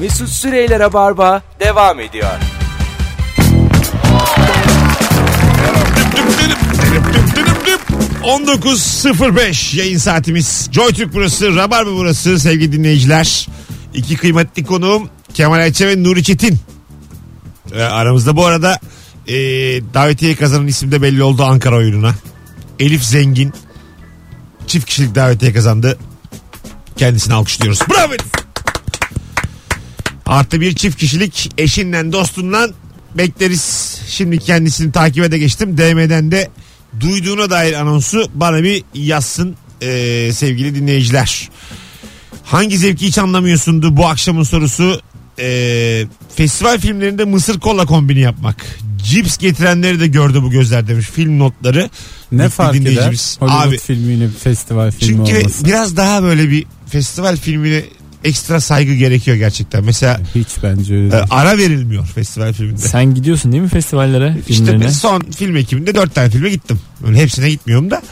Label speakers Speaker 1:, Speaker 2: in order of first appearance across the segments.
Speaker 1: Mesut Süreyler'e barba devam ediyor.
Speaker 2: Düp düp düp düp düp. 19.05 yayın saatimiz. JoyTürk burası, Rabarba burası sevgili dinleyiciler. İki kıymetli konuğum Kemal Ayça ve Nuri Çetin. Ee, aramızda bu arada e, davetiye kazanan isim de belli oldu Ankara oyununa. Elif Zengin çift kişilik davetiye kazandı. Kendisini alkışlıyoruz. Bravo Elif. Artı bir çift kişilik eşinle dostunla bekleriz. Şimdi kendisini takibe de geçtim. DM'den de duyduğuna dair anonsu bana bir yazsın ee, sevgili dinleyiciler. Hangi zevki hiç anlamıyorsundu bu akşamın sorusu. Ee, festival filmlerinde mısır kola kombini yapmak. Cips getirenleri de gördü bu gözler demiş. Film notları.
Speaker 3: Ne
Speaker 2: Bir
Speaker 3: fark eder
Speaker 2: dinleyicimiz.
Speaker 3: Hollywood
Speaker 2: Abi-
Speaker 3: filmiyle bir festival filmi
Speaker 2: Çünkü
Speaker 3: olması?
Speaker 2: biraz daha böyle bir festival filmine ekstra saygı gerekiyor gerçekten. Mesela
Speaker 3: Hiç bence öyle
Speaker 2: e,
Speaker 3: değil.
Speaker 2: ara verilmiyor festival filminde.
Speaker 3: Sen gidiyorsun değil mi festivallere?
Speaker 2: İşte
Speaker 3: filmlerine?
Speaker 2: ben son film ekibinde dört tane filme gittim. Öyle hepsine gitmiyorum da.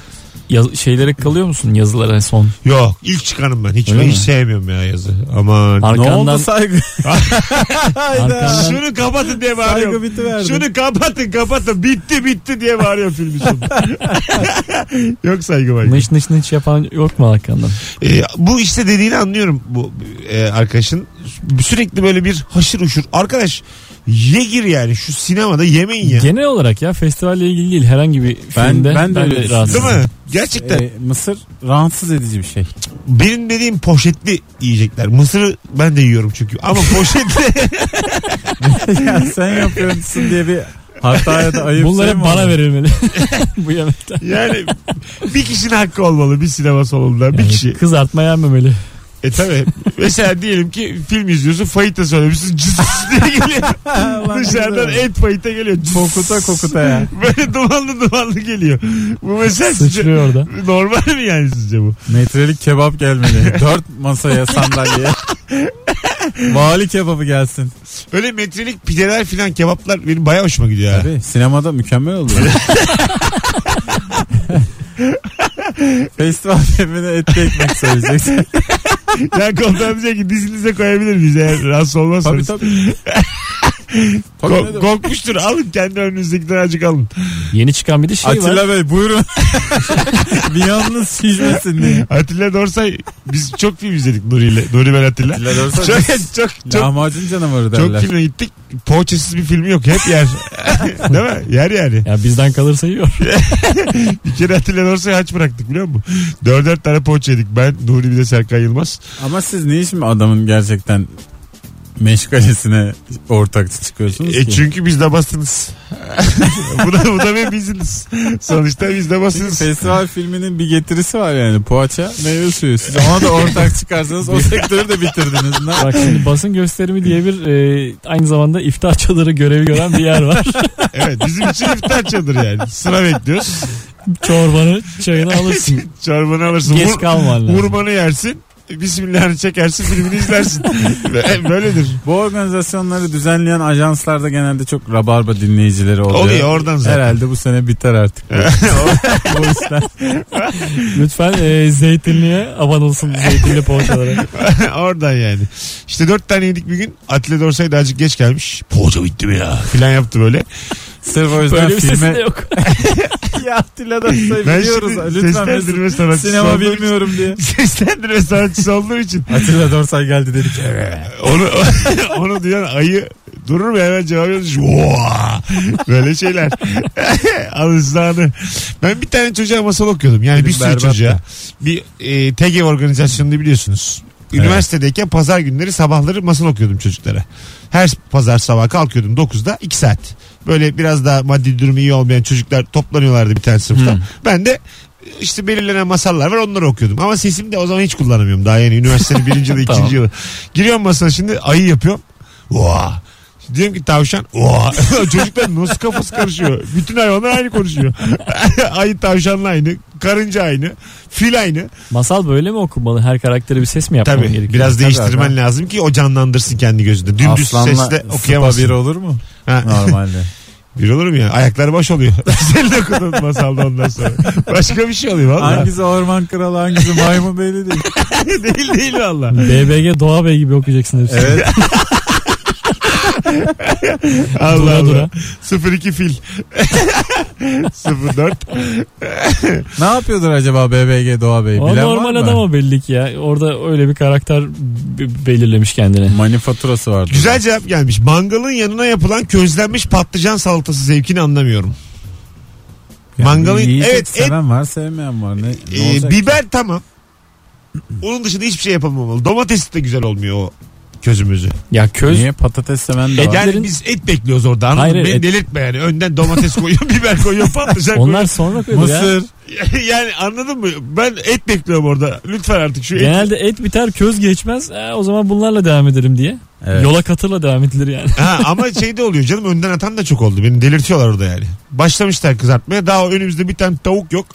Speaker 3: Yaz- şeylere kalıyor musun yazılara son?
Speaker 2: Yok ilk çıkanım ben. Hiç,
Speaker 3: Öyle
Speaker 2: ben hiç
Speaker 3: mi?
Speaker 2: sevmiyorum ya yazı. Aman.
Speaker 3: Arkandan,
Speaker 4: Ne oldu saygı?
Speaker 3: arkandan
Speaker 2: Şunu kapatın diye
Speaker 4: saygı
Speaker 2: bağırıyorum.
Speaker 4: bitiverdi.
Speaker 2: Şunu kapatın kapatın. Bitti bitti diye bağırıyor film için. Yok saygı var.
Speaker 3: nış nış nış yapan yok mu arkandan?
Speaker 2: E, bu işte dediğini anlıyorum bu e, arkadaşın. Sürekli böyle bir haşır uşur. Arkadaş ye gir yani şu sinemada yemeyin ya.
Speaker 3: Genel olarak ya festivalle ilgili değil herhangi bir
Speaker 4: Ben-
Speaker 3: filmde
Speaker 4: ben de öyle düşünüyorum.
Speaker 2: Değil
Speaker 3: rahatsızım.
Speaker 2: mi? Gerçekten.
Speaker 4: Ee, mısır rahatsız edici bir şey.
Speaker 2: Benim dediğim poşetli yiyecekler. Mısırı ben de yiyorum çünkü. Ama poşetli.
Speaker 4: ya sen yapıyorsun diye bir hata ya da ayıp
Speaker 3: Bunlar
Speaker 4: şey mi
Speaker 3: hep bana
Speaker 4: olur?
Speaker 3: verilmeli. Bu yemekler.
Speaker 2: yani bir kişinin hakkı olmalı bir sinema salonunda. Bir
Speaker 3: Yani
Speaker 2: kişi.
Speaker 3: Kızartma yenmemeli.
Speaker 2: E tabi. Mesela diyelim ki film izliyorsun. Fayita söylemişsin. Cız diye geliyor.
Speaker 4: Lan
Speaker 2: Dışarıdan
Speaker 4: güzel.
Speaker 2: et fayita geliyor. Cız.
Speaker 4: Kokuta kokuta ya.
Speaker 2: Böyle dumanlı dumanlı geliyor. Bu mesela sizce
Speaker 3: Sıçrıyor orada.
Speaker 2: normal mi yani sizce bu?
Speaker 4: Metrelik kebap gelmeli. Dört masaya sandalye. Vali kebabı gelsin.
Speaker 2: Öyle metrelik pideler filan kebaplar benim bayağı hoşuma gidiyor. ha.
Speaker 4: Tabii sinemada mükemmel olur. Festival yemeğine etli ekmek söyleyeceksin.
Speaker 2: Yani komutanım diyecek ki dizinize koyabilir miyiz eğer rahatsız
Speaker 4: tabii
Speaker 2: olmazsanız.
Speaker 4: tabii. tabii ne
Speaker 2: Ko-
Speaker 4: demek?
Speaker 2: korkmuştur alın kendi önünüzdekinden azıcık alın.
Speaker 3: Yeni çıkan bir de şey var.
Speaker 4: Atilla Bey buyurun. bir yalnız şişmesin diye.
Speaker 2: Atilla Dorsay biz çok film izledik Nuri ile. Nuri ben Atilla.
Speaker 4: Atilla Dorsay
Speaker 2: Çok
Speaker 4: biz-
Speaker 2: çok çok,
Speaker 4: Lahmacun canavarı
Speaker 2: çok
Speaker 4: derler.
Speaker 2: filme gittik. Poğaçasız bir filmi yok. Hep yer. Değil mi? Yer yani.
Speaker 3: Ya bizden kalırsa yiyor.
Speaker 2: Bir kere Atilla Dorsay'ı aç bıraktık biliyor musun? Dörder tane poğaça yedik. Ben, Nuri bir de Serkan Yılmaz.
Speaker 4: Ama siz niye şimdi adamın gerçekten meşgalesine ortak çıkıyorsunuz
Speaker 2: E
Speaker 4: ki?
Speaker 2: çünkü biz de bastınız. bu da, bu da benim biziniz. Sonuçta biz de
Speaker 4: Çünkü
Speaker 2: bastınız.
Speaker 4: festival filminin bir getirisi var yani poğaça meyve suyu. Siz ona da ortak çıkarsanız o sektörü de bitirdiniz. Ne-
Speaker 3: Bak şimdi basın gösterimi diye bir e, aynı zamanda iftar çadırı görevi gören bir yer var.
Speaker 2: Evet bizim için iftar çadır yani. Sıra bekliyoruz.
Speaker 3: Çorbanı çayını alırsın.
Speaker 2: Çorbanı alırsın.
Speaker 3: Geç
Speaker 2: Vur,
Speaker 3: kalman lazım.
Speaker 2: vurmanı yersin. Bismillahını çekersin filmini izlersin. Ve- e, Böyledir.
Speaker 4: Bu organizasyonları düzenleyen ajanslarda genelde çok rabarba dinleyicileri oluyor.
Speaker 2: Oluyor oradan zaten.
Speaker 4: Herhalde bu sene biter artık. bu işler.
Speaker 3: Lütfen e, zeytinliğe aman olsun bu zeytinli poğaçalara.
Speaker 2: oradan yani. İşte dört tane yedik bir gün. Atilla Dorsay da azıcık geç gelmiş. Poğaça bitti mi ya? Filan yaptı böyle.
Speaker 4: Sırf o yüzden
Speaker 3: Böyle bir sesi de
Speaker 4: filme...
Speaker 3: yok.
Speaker 4: ya Atilla da
Speaker 2: Ben
Speaker 4: biliyoruz.
Speaker 2: şimdi
Speaker 4: Lütfen biz
Speaker 2: seslendirme sanatçısı
Speaker 4: sinema
Speaker 2: olduğum için-
Speaker 4: bilmiyorum diye.
Speaker 2: Seslendirme sanatçısı olduğum için.
Speaker 4: Atilla Dorsay geldi dedi ki
Speaker 2: Onu, onu duyan ayı durur mu hemen cevap yazmış. "Vaa!" Böyle şeyler. Alışlarını. Ben bir tane çocuğa masal okuyordum. Yani bir
Speaker 4: Benim
Speaker 2: sürü
Speaker 4: berbat
Speaker 2: çocuğa.
Speaker 4: da.
Speaker 2: Bir e, TG organizasyonunu biliyorsunuz. Üniversitedeyken pazar günleri sabahları masal okuyordum çocuklara. Her pazar sabah kalkıyordum 9'da 2 saat. Böyle biraz daha maddi durumu iyi olmayan çocuklar toplanıyorlardı bir tane sınıfta. Ben de e, işte belirlenen masallar var onları okuyordum. Ama sesimi de o zaman hiç kullanamıyorum. Daha yeni üniversitenin birinci yılı ikinci
Speaker 3: Tamam.
Speaker 2: yılı. Giriyorum masaya şimdi ayı yapıyorum. Vaa. Diyorum ki tavşan. Vaa. Çocuklar nasıl kafası karışıyor. Bütün hayvanlar aynı konuşuyor. ayı tavşanla aynı. Karınca aynı. Fil aynı.
Speaker 3: Masal böyle mi okunmalı? Her karaktere bir ses mi yapmam
Speaker 2: Tabii
Speaker 3: gerekiyor?
Speaker 2: biraz
Speaker 4: Tabii
Speaker 2: değiştirmen
Speaker 4: abi.
Speaker 2: lazım ki o canlandırsın kendi gözünde. Dümdüz
Speaker 4: Aslanla
Speaker 2: sesle
Speaker 4: sıpa bir
Speaker 2: okuyamazsın.
Speaker 4: olur mu
Speaker 2: Ha.
Speaker 4: normalde?
Speaker 2: Bir olurum ya. Ayakları boş oluyor. Senin okuduğun masalda ondan sonra. Başka bir şey oluyor valla.
Speaker 4: Hangisi orman kralı hangisi maymun belli değil.
Speaker 2: değil değil valla.
Speaker 3: BBG Doğa Bey gibi okuyacaksın hepsini.
Speaker 4: Evet.
Speaker 2: Allah
Speaker 3: Dura dura.
Speaker 2: Allah. 02 fil. 04.
Speaker 4: ne yapıyordur acaba BBG Doğa Bey?
Speaker 3: O
Speaker 4: Bilen
Speaker 3: normal
Speaker 4: var mı?
Speaker 3: adam o belli ki ya. Orada öyle bir karakter b- belirlemiş kendine.
Speaker 4: Manifaturası var.
Speaker 2: Güzel cevap gelmiş. Mangalın yanına yapılan közlenmiş patlıcan salatası zevkini anlamıyorum. mangalın-
Speaker 4: yiyecek
Speaker 2: evet, et-
Speaker 4: Seven var sevmeyen var. Ne, ne
Speaker 2: Ee,
Speaker 4: olacak?
Speaker 2: biber tamam. Onun dışında hiçbir şey yapamamalı. Domates de güzel olmuyor o közümüzü.
Speaker 3: Ya köz
Speaker 4: Niye patates seven de
Speaker 3: Eder-
Speaker 4: var.
Speaker 2: Yani
Speaker 3: Etlerin-
Speaker 2: biz et bekliyoruz orada. Anladın
Speaker 3: Hayır,
Speaker 2: mı? Beni
Speaker 3: et-
Speaker 2: delirtme yani. Önden domates koyuyor, biber koyuyor, patlıcan
Speaker 3: onlar sonra koyulur ya.
Speaker 4: Mısır.
Speaker 2: koyuyor. yani anladın mı? Ben et bekliyorum orada. Lütfen artık şu et.
Speaker 3: Genelde et biter köz geçmez. E, o zaman bunlarla devam ederim diye.
Speaker 4: Evet.
Speaker 3: Yola katırla devam edilir yani.
Speaker 2: Ha, ama şey de oluyor canım önden atan da çok oldu. Beni delirtiyorlar orada yani. Başlamışlar kızartmaya. Daha önümüzde bir tane tavuk yok.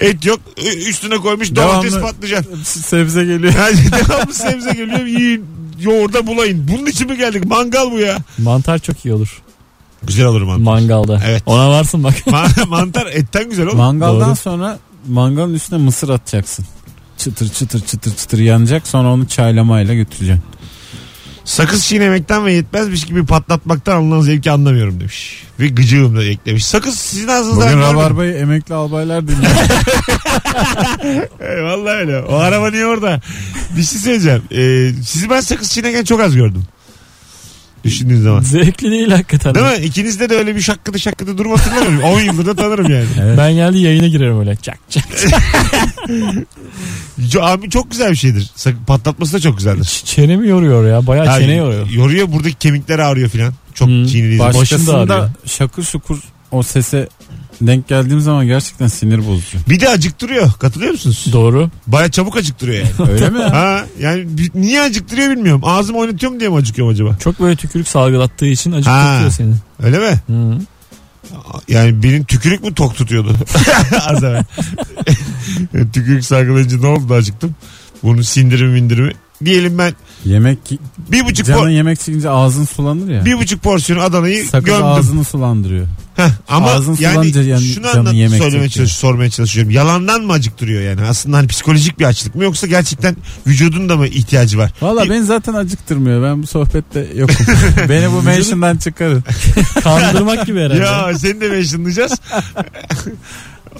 Speaker 2: Et yok. Ü- Üstüne koymuş domates
Speaker 4: Devamlı-
Speaker 2: patlıcan.
Speaker 4: Sebze geliyor.
Speaker 2: Yani devamlı sebze geliyor. Yiyin. Yoğurda bulayın. Bunun için mi geldik? Mangal bu ya.
Speaker 3: Mantar çok iyi olur
Speaker 2: Güzel olur mantar.
Speaker 3: mangalda.
Speaker 2: Evet.
Speaker 3: Ona varsın bak.
Speaker 2: Ma- mantar etten güzel olur.
Speaker 4: Mangaldan
Speaker 3: Doğru.
Speaker 4: sonra mangalın üstüne mısır atacaksın. Çıtır çıtır çıtır çıtır yanacak sonra onu çaylamayla götüreceksin.
Speaker 2: Sakız çiğnemekten ve yetmezmiş gibi patlatmaktan alınan zevki anlamıyorum demiş. Ve gıcığım da eklemiş. Sakız sizin ağzınızdan
Speaker 4: Bugün
Speaker 2: görmedim.
Speaker 4: Rabarbayı emekli albaylar dinliyor.
Speaker 2: E, vallahi öyle. O araba niye orada? Bir şey söyleyeceğim. E, sizi ben sakız çiğnerken çok az gördüm. Düşündüğün zaman.
Speaker 3: Zevkli değil hakikaten.
Speaker 2: Değil mi? İkinizde de öyle bir şakkıdı şakkıdı durum hatırlamıyorum. 10 yıldır da tanırım yani.
Speaker 4: Evet.
Speaker 3: Ben geldi yayına girerim öyle. Çak çak.
Speaker 2: Co- Abi çok güzel bir şeydir. Sak- Patlatması da çok güzeldir.
Speaker 3: Ç- Çenemi yoruyor ya. Bayağı
Speaker 2: Ha,
Speaker 3: çene yoruyor.
Speaker 2: Yoruyor buradaki kemikler ağrıyor filan. Çok
Speaker 3: Hmm.
Speaker 2: çiğnediği zaman.
Speaker 3: Baş-
Speaker 4: Başkasında
Speaker 3: ağrıyor.
Speaker 4: şakır şukur o sese denk geldiğim zaman gerçekten sinir bozucu.
Speaker 2: Bir de acıktırıyor. Katılıyor musunuz?
Speaker 3: Doğru.
Speaker 2: Baya çabuk acıktırıyor yani.
Speaker 4: Öyle mi?
Speaker 2: ha yani bi- niye acıktırıyor bilmiyorum. Ağzımı oynatıyorum diye mi acıkıyorum acaba?
Speaker 3: Çok böyle tükürük salgılattığı için acı
Speaker 2: Ha.
Speaker 3: tutuyor seni.
Speaker 2: Öyle mi?
Speaker 3: Hı.
Speaker 2: Yani benim tükürük mü tok tutuyordu? Az evvel. E, tükürük sargılayınca ne oldu da acıktım? Bunun sindirimi mindirimi. Diyelim ben
Speaker 4: Yemek ki-
Speaker 2: bir buçuk,
Speaker 4: canın
Speaker 2: por-
Speaker 4: yemek çıkınca ağzın sulanır ya.
Speaker 2: bir buçuk porsiyon Adana'yı
Speaker 4: Sakız
Speaker 2: gömdüm.
Speaker 4: ağzını sulandırıyor.
Speaker 2: Heh, ama
Speaker 4: ağzın
Speaker 2: yani
Speaker 4: sulanınca yani
Speaker 2: şunu
Speaker 4: canın
Speaker 2: anlat,
Speaker 4: yemek
Speaker 2: söylemeye
Speaker 4: çekiyor.
Speaker 2: çalış, sormaya çalışıyorum. Yalandan mı acıktırıyor yani? Aslında hani psikolojik bir açlık mı yoksa gerçekten vücudun da mı ihtiyacı var?
Speaker 4: Valla
Speaker 2: Bir-
Speaker 4: beni zaten acıktırmıyor. Ben bu sohbette yokum. beni bu mansion'dan çıkarın.
Speaker 3: Kandırmak gibi herhalde.
Speaker 2: Ya seni de mentionlayacağız.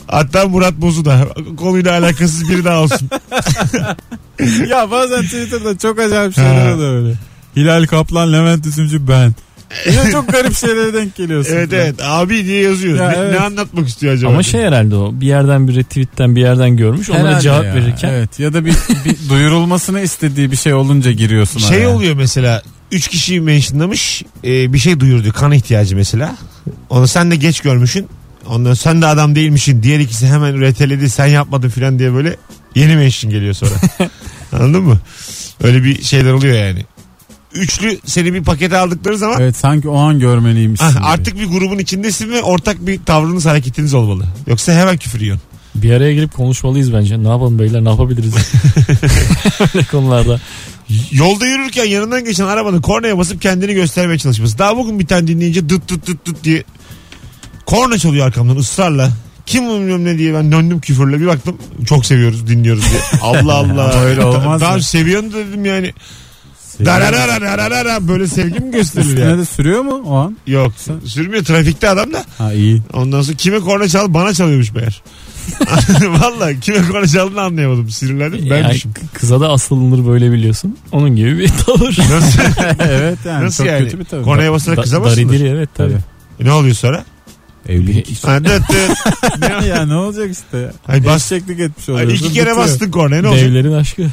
Speaker 2: Hatta Murat Bozu da konuyla alakasız biri daha olsun.
Speaker 4: ya bazen Twitter'da çok acayip şeyler
Speaker 2: Ha.
Speaker 4: oluyor öyle. Hilal Kaplan, Levent Üzümcü ben. Yine çok garip şeylere denk geliyorsun.
Speaker 2: evet evet abi diye yazıyor.
Speaker 4: Ya
Speaker 2: ne,
Speaker 4: evet.
Speaker 2: ne anlatmak istiyor acaba?
Speaker 3: Ama şey herhalde o. Bir yerden bir retweetten bir yerden görmüş. Onlara
Speaker 4: Herhalde
Speaker 3: cevap
Speaker 4: ya.
Speaker 3: verirken.
Speaker 4: Evet ya da bir, bir duyurulmasını istediği bir şey olunca giriyorsun.
Speaker 2: Şey
Speaker 4: araya.
Speaker 2: oluyor mesela üç kişiyi mentionlamış e, bir şey duyurdu kan ihtiyacı mesela. Onu sen de geç görmüşsün. Ondan sen de adam değilmişsin. Diğer ikisi hemen reteledi sen yapmadın filan diye böyle yeni mention geliyor sonra. Anladın mı? Öyle bir şeyler oluyor yani. Üçlü seni bir pakete aldıkları zaman
Speaker 4: Evet sanki o an görmeliymişsin.
Speaker 2: ah,
Speaker 4: gibi.
Speaker 2: artık bir grubun içindesin ve ortak bir tavrınız hareketiniz olmalı. Yoksa hemen küfür yiyorsun.
Speaker 3: Bir araya girip konuşmalıyız bence. Ne yapalım beyler ne yapabiliriz? Öyle konularda.
Speaker 2: Yolda yürürken yanından geçen arabanın kornaya basıp kendini göstermeye çalışması. Daha bugün bir tane dinleyince dıt dıt dıt dıt diye korna çalıyor arkamdan ısrarla. Kim bilmiyorum ne diye ben döndüm küfürle bir baktım çok seviyoruz dinliyoruz diye. Allah Allah.
Speaker 4: Ama öyle olmaz
Speaker 2: Daha
Speaker 4: mı?
Speaker 2: seviyorsun da dedim yani.
Speaker 4: Sevgili-
Speaker 2: Darararararara böyle sevgi mi gösterilir
Speaker 4: Üstüne
Speaker 2: yani?
Speaker 4: de sürüyor mu o an?
Speaker 2: Yok sürmüyor trafikte adam da.
Speaker 4: Ha iyi.
Speaker 2: Ondan sonra kime korna çaldı bana çalıyormuş meğer. Valla kime korna çaldığını anlayamadım sinirlendim ben
Speaker 3: Yani
Speaker 2: düşün.
Speaker 3: k- kıza da asılınır böyle biliyorsun. Onun gibi bir tavır.
Speaker 2: Nasıl,
Speaker 4: evet yani
Speaker 2: nasıl
Speaker 4: çok
Speaker 2: yani?
Speaker 4: kötü bir tabii.
Speaker 2: Kornaya basarak
Speaker 3: Da-
Speaker 2: kıza basılır.
Speaker 3: daridiri, evet tabii.
Speaker 4: Tabii.
Speaker 2: E, Ne oluyor sonra?
Speaker 4: Evlilik işte.
Speaker 2: Ha, dıt dıt. Ne-
Speaker 4: ya ne olacak işte ya.
Speaker 2: Ay bas.
Speaker 4: Eşeklik etmiş
Speaker 2: Ay,
Speaker 4: oluyorsun.
Speaker 2: iki kere
Speaker 4: bitiyor.
Speaker 2: bastın kornaya ne olacak?
Speaker 3: Devlerin aşkı.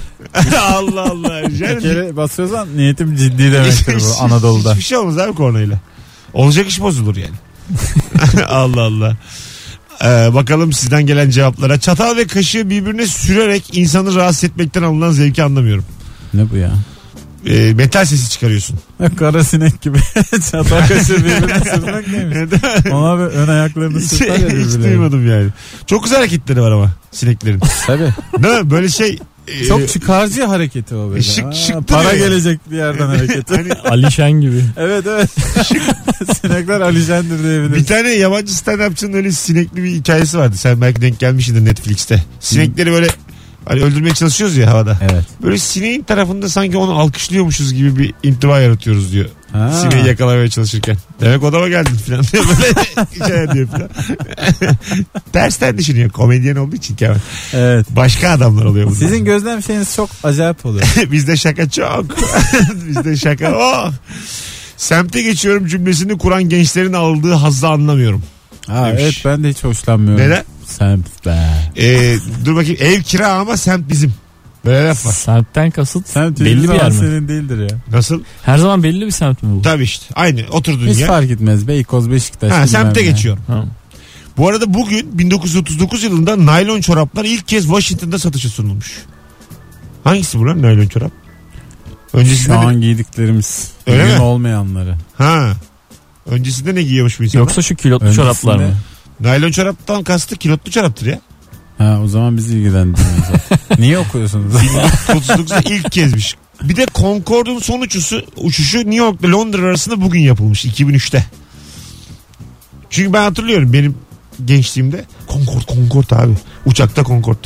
Speaker 2: Allah Allah.
Speaker 4: Bir
Speaker 2: Yani,
Speaker 4: kere basıyorsan niyetim ciddi demektir
Speaker 2: Hiç-
Speaker 4: bu Anadolu'da.
Speaker 2: Hiçbir şey olmaz abi kornayla. Olacak iş bozulur yani. Allah Allah. Ee, bakalım sizden gelen cevaplara. Çatal ve kaşığı birbirine sürerek insanı rahatsız etmekten alınan zevki anlamıyorum.
Speaker 4: ne bu ya?
Speaker 2: Ee, metal sesi çıkarıyorsun.
Speaker 4: Kara sinek gibi çatal kaşığı birbirine sürmek neymiş? Ona bir ön ayaklarını
Speaker 2: hiç,
Speaker 4: sürtar
Speaker 2: Şey,
Speaker 4: ya
Speaker 2: hiç
Speaker 4: birbirine.
Speaker 2: duymadım yani. Çok güzel hareketleri var ama sineklerin.
Speaker 4: Tabii.
Speaker 2: Değil mi? Böyle şey e,
Speaker 4: Çok çıkarcı hareketi o böyle.
Speaker 2: Şık-
Speaker 4: Aa,
Speaker 2: şık
Speaker 4: para
Speaker 2: duruyor yani.
Speaker 4: gelecek bir yerden hareketi.
Speaker 3: Ali Şen gibi.
Speaker 4: evet evet. Sinekler Alijendir
Speaker 2: bir
Speaker 4: diyebiliriz.
Speaker 2: tane yabancı stand-upçının öyle sinekli bir hikayesi vardı. Sen belki denk gelmişsindir Netflix'te. Sinekleri böyle hani öldürmeye çalışıyoruz ya havada.
Speaker 4: Evet.
Speaker 2: Böyle sineğin tarafında sanki onu alkışlıyormuşuz gibi bir intiba yaratıyoruz diyor.
Speaker 4: Ha.
Speaker 2: Sineği yakalamaya çalışırken. Demek odama geldin falan diye böyle şey diyor falan. Tersten düşünüyor. Komedyen olduğu için Kemal.
Speaker 4: Evet.
Speaker 2: Başka adamlar oluyor bunlar.
Speaker 4: Sizin gözlem şeyiniz çok acayip oluyor.
Speaker 2: Bizde şaka çok. Bizde şaka oh. Semte geçiyorum cümlesini kuran gençlerin aldığı hazzı anlamıyorum.
Speaker 4: Ha,
Speaker 2: Demiş.
Speaker 4: evet ben de hiç hoşlanmıyorum.
Speaker 2: Neden?
Speaker 4: Semt be.
Speaker 2: Ee, dur bakayım ev kira ama semt bizim. Böyle laf var.
Speaker 3: Semtten kasıt
Speaker 4: Semt
Speaker 3: belli bir yer mi?
Speaker 4: senin değildir ya.
Speaker 2: Nasıl?
Speaker 3: Her zaman belli bir semt mi bu?
Speaker 2: Tabii işte. Aynı oturduğun
Speaker 4: Hiç
Speaker 2: yer.
Speaker 4: fark etmez. Beykoz, Beşiktaş.
Speaker 2: Ha,
Speaker 4: bilmem
Speaker 2: semte
Speaker 4: ne.
Speaker 2: geçiyorum.
Speaker 3: Tamam.
Speaker 2: Bu arada bugün 1939 yılında naylon çoraplar ilk kez Washington'da satışa sunulmuş. Hangisi bu lan naylon çorap?
Speaker 4: Şu
Speaker 2: Öncesinde ne?
Speaker 4: an giydiklerimiz.
Speaker 2: Öyle
Speaker 4: Öyle
Speaker 2: mi?
Speaker 4: olmayanları.
Speaker 2: Ha. Öncesinde ne giyiyormuş bu insanlar?
Speaker 3: Yoksa şu kilotlu
Speaker 4: Öncesinde-
Speaker 3: çoraplar mı?
Speaker 2: Naylon çoraptan kastı kilotlu çoraptır ya.
Speaker 4: Ha o zaman bizi ilgilendirmiyor zaten. Niye okuyorsunuz?
Speaker 2: 39'da ilk kezmiş. Bir de Concorde'un son uçuşu, uçuşu New York'la Londra arasında bugün yapılmış 2003'te. Çünkü ben hatırlıyorum benim gençliğimde Concorde Concorde abi. Uçakta Concorde.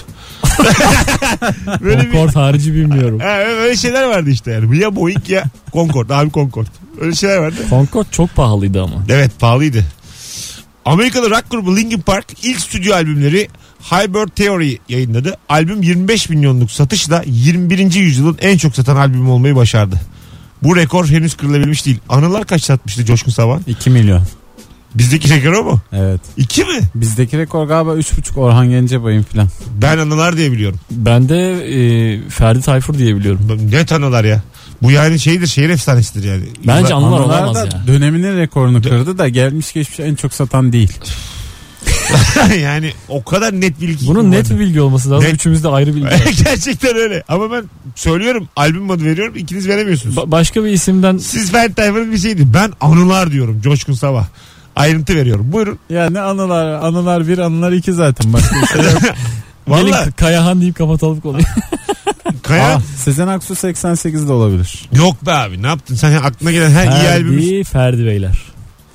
Speaker 2: böyle bir
Speaker 3: Concord harici bilmiyorum.
Speaker 2: Ha, öyle şeyler vardı işte yani. Ya Boeing ya Concorde abi Concorde. Öyle şeyler vardı.
Speaker 3: Concord çok pahalıydı ama.
Speaker 2: Evet pahalıydı. Amerikalı rock grubu Linkin Park ilk stüdyo albümleri Hybrid Theory yayınladı. Albüm 25 milyonluk satışla 21. yüzyılın en çok satan albümü olmayı başardı. Bu rekor henüz kırılabilmiş değil. Anılar kaç satmıştı Coşkun Savan?
Speaker 4: 2 milyon.
Speaker 2: Bizdeki rekor o mu?
Speaker 4: Evet.
Speaker 2: 2 mi?
Speaker 4: Bizdeki rekor galiba 3,5 Orhan Gencebay'ın falan.
Speaker 2: Ben anılar diye biliyorum.
Speaker 3: Ben de e, Ferdi Tayfur diye biliyorum.
Speaker 2: Net anılar ya. Bu yani şeydir şehir efsanesidir yani.
Speaker 3: Bence
Speaker 2: Yıllar-
Speaker 3: anılar
Speaker 4: Onlar
Speaker 3: olamaz
Speaker 4: da
Speaker 3: ya.
Speaker 4: döneminin rekorunu kırdı da gelmiş geçmiş en çok satan değil.
Speaker 2: yani o kadar net bilgi.
Speaker 3: Bunun net bir bilgi olması lazım.
Speaker 2: Net.
Speaker 3: Üçümüz de ayrı bilgi. var.
Speaker 2: Gerçekten öyle. Ama ben söylüyorum albüm adı veriyorum ikiniz veremiyorsunuz.
Speaker 3: Ba- başka bir isimden
Speaker 2: Siz Ferdi Tayfur'un bir şeydi. Ben anılar diyorum Coşkun Sabah. Ayrıntı veriyorum. Buyurun.
Speaker 4: Ya ne anılar anılar bir anılar iki zaten başka bir şey yok.
Speaker 3: gelin
Speaker 2: Valla
Speaker 3: Kayahan deyip kapatalım konuyu.
Speaker 2: Kaya.
Speaker 4: Ah, Sezen Aksu 88'de olabilir.
Speaker 2: Yok be abi ne yaptın? Sen aklına gelen her iyi albümü.
Speaker 3: Ferdi, Ferdi Beyler.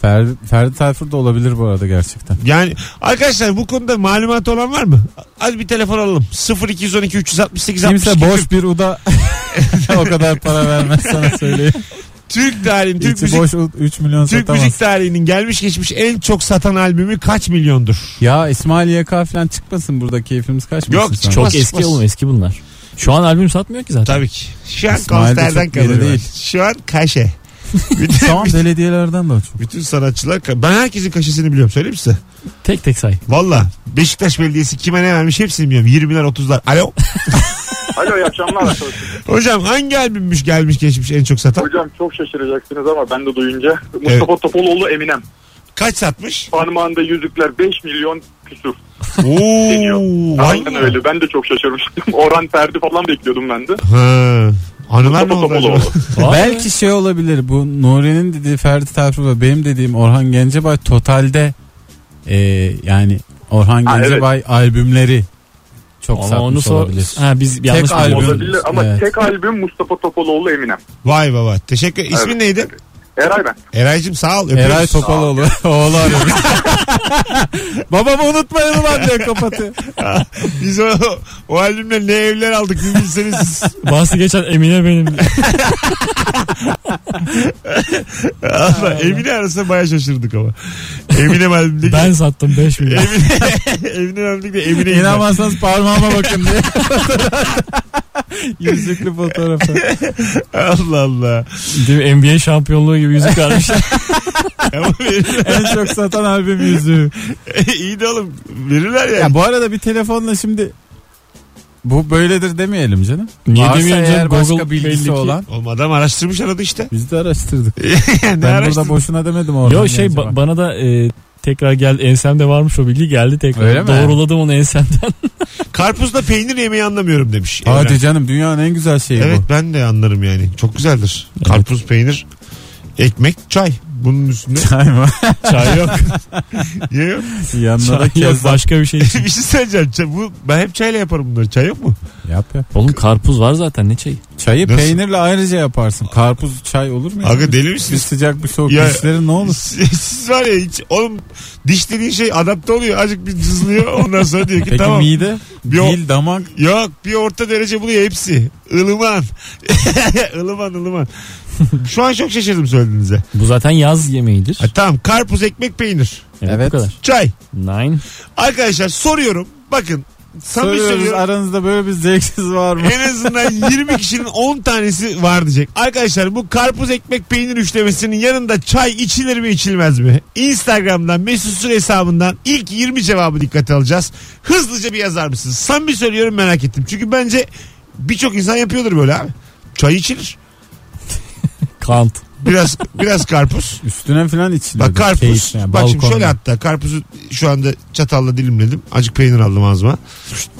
Speaker 4: Ferdi, Ferdi Tayfur da olabilir bu arada gerçekten.
Speaker 2: Yani arkadaşlar bu konuda malumatı olan var mı? Hadi bir telefon alalım. 0212 368
Speaker 4: Kimse
Speaker 2: 62
Speaker 4: boş bir uda o kadar para vermez sana söyleyeyim.
Speaker 2: Türk tarihinin, Türk
Speaker 4: İçi
Speaker 2: müzik,
Speaker 4: boş 3 milyon
Speaker 2: Türk
Speaker 4: satamaz.
Speaker 2: müzik tarihinin gelmiş geçmiş en çok satan albümü kaç milyondur?
Speaker 4: Ya İsmail YK falan çıkmasın burada keyfimiz kaçmasın.
Speaker 2: Yok,
Speaker 4: sana.
Speaker 3: Çok
Speaker 2: Çıkmaz,
Speaker 3: eski
Speaker 2: çıkmaz.
Speaker 3: oğlum eski bunlar. Şu an albüm satmıyor ki zaten.
Speaker 2: Tabii ki. Şu an
Speaker 4: İsmail de
Speaker 2: konserden
Speaker 4: çok geri
Speaker 2: kalıyor.
Speaker 4: değil.
Speaker 2: Şu an kaşe. bütün,
Speaker 4: Tamam belediyelerden de o çok.
Speaker 2: bütün sanatçılar ka- ben herkesin kaşesini biliyorum söyleyeyim size.
Speaker 3: Tek tek say.
Speaker 2: Valla Beşiktaş Belediyesi kime ne vermiş hepsini bilmiyorum. 20'ler 30'lar. Alo.
Speaker 5: Alo iyi akşamlar arkadaşlar.
Speaker 2: Hocam hangi albümmüş gelmiş geçmiş en çok satan?
Speaker 5: Hocam çok şaşıracaksınız ama ben de duyunca Mustafa Topaloğlu Eminem.
Speaker 2: Kaç satmış?
Speaker 5: Parmağında yüzükler 5 milyon küsur.
Speaker 2: Oo.
Speaker 5: Aynen
Speaker 2: hangi-
Speaker 5: öyle ben de çok şaşırmıştım. Orhan Ferdi falan bekliyordum ben de.
Speaker 2: Ha. Anılar mı
Speaker 5: Mustafa
Speaker 2: oldu
Speaker 5: Topaloğlu.
Speaker 2: acaba?
Speaker 3: Vay be.
Speaker 4: Belki şey olabilir bu Nuri'nin dediği Ferdi Tayfur ve benim dediğim Orhan Gencebay totalde e, yani Orhan
Speaker 5: Ha, evet.
Speaker 4: Gencebay albümleri çok
Speaker 3: Ama
Speaker 4: satmış
Speaker 3: onu sor.
Speaker 4: olabilir.
Speaker 3: Ha biz yanlış
Speaker 4: albüm.
Speaker 3: biliyoruz.
Speaker 5: Olabilir ama
Speaker 4: Evet.
Speaker 5: tek albüm Mustafa Topaloğlu Eminem.
Speaker 2: Vay baba. Teşekkür. İsmin
Speaker 5: Evet.
Speaker 2: neydi?
Speaker 5: Eray ben.
Speaker 2: Eray'cım sağ ol. öpüyoruz.
Speaker 4: Eray Topaloğlu oğlu arıyor. Babamı unutmayın ulan diyor kapatıyor.
Speaker 2: Biz o, o albümle ne evler aldık bir bilseniz.
Speaker 3: Bahsi geçen Emine benim.
Speaker 2: Allah, Emine arasında baya şaşırdık ama. Eminem albümdeki.
Speaker 3: ben sattım 5 milyon.
Speaker 2: Emine, Eminem albümdeki Emine.
Speaker 4: İnanmazsanız parmağıma bakın diye. Yüzüklü fotoğrafı.
Speaker 2: Allah Allah.
Speaker 3: Değil mi? NBA şampiyonluğu gibi yüzük vermişler.
Speaker 2: Ama verirler.
Speaker 4: en çok satan albüm yüzüğü.
Speaker 2: İyi de oğlum verirler yani.
Speaker 4: Ya bu arada bir telefonla şimdi bu böyledir demeyelim canım.
Speaker 3: Niye
Speaker 4: Varsa
Speaker 3: demiyorum canım?
Speaker 4: eğer
Speaker 3: Google
Speaker 4: başka
Speaker 3: belli
Speaker 4: bilgisi
Speaker 3: ki.
Speaker 4: olan
Speaker 2: Oğlum adam araştırmış aradı işte.
Speaker 4: biz de araştırdık.
Speaker 2: ne
Speaker 4: ben
Speaker 2: araştırdın?
Speaker 4: burada boşuna demedim orada.
Speaker 3: Yo şey ba- bana da e, tekrar geldi ensemde varmış o bilgi geldi tekrar.
Speaker 4: Öyle mi?
Speaker 3: Doğruladım onu ensemden.
Speaker 2: Karpuzla peynir yemeyi anlamıyorum demiş. Evren.
Speaker 4: Hadi canım dünyanın en güzel şeyi
Speaker 2: Evet ben de anlarım yani. Çok güzeldir. Karpuz, peynir, ekmek, çay. bunun üstüne?
Speaker 4: Çay mı?
Speaker 3: Çay yok.
Speaker 2: Niye yok?
Speaker 4: Yanına da
Speaker 3: Çay yok
Speaker 4: kez
Speaker 3: başka bir şey için.
Speaker 2: bir şey söyleyeceğim. Çay- bu, ben hep çayla yaparım bunları. Çay yok mu?
Speaker 4: Yap yap.
Speaker 3: Oğlum karpuz var zaten ne çayı?
Speaker 4: Çayı
Speaker 2: Nasıl?
Speaker 4: peynirle ayrıca yaparsın. Karpuz çay olur mu? ya?
Speaker 2: Aga deli
Speaker 4: bir
Speaker 2: misiniz?
Speaker 4: sıcak bir soğuk
Speaker 2: Ya-
Speaker 4: dişleri ne olur?
Speaker 2: Siz siz var ya hiç oğlum diş dediğin şey adapte oluyor. Azıcık bir cızlıyor ondan sonra diyor ki
Speaker 4: Peki
Speaker 2: tamam.
Speaker 4: mide,
Speaker 2: Bir o-
Speaker 4: dil, damak
Speaker 2: Yok bir orta derece buluyor hepsi. Ilıman. ılıman ılıman. Şu an çok şaşırdım söylediğinize.
Speaker 3: Bu zaten yaz yemeğidir.
Speaker 2: Ha, tamam karpuz ekmek peynir.
Speaker 3: Evet,
Speaker 4: Evet.
Speaker 3: bu kadar.
Speaker 2: Çay.
Speaker 3: Nine.
Speaker 2: Arkadaşlar soruyorum. Bakın. Samimi
Speaker 4: soruyoruz
Speaker 2: söylüyorum.
Speaker 4: aranızda böyle bir zevksiz var mı?
Speaker 2: en azından 20 kişinin 10 tanesi var diyecek. Arkadaşlar bu karpuz ekmek peynir üçlemesinin yanında çay içilir mi içilmez mi? Instagram'dan Mesut Süre hesabından ilk 20 cevabı dikkate alacağız. Hızlıca bir yazar mısınız? Samimi söylüyorum merak ettim. Çünkü bence birçok insan yapıyordur böyle abi. Çay içilir.
Speaker 3: Kant.
Speaker 2: Biraz biraz karpuz.
Speaker 4: Üstüne falan içiliyor.
Speaker 2: Bak karpuz.
Speaker 4: Keyifle, yani
Speaker 2: Bak şimdi şöyle
Speaker 4: balkonda.
Speaker 2: hatta karpuzu şu anda çatalla dilimledim. Acık peynir aldım ağzıma.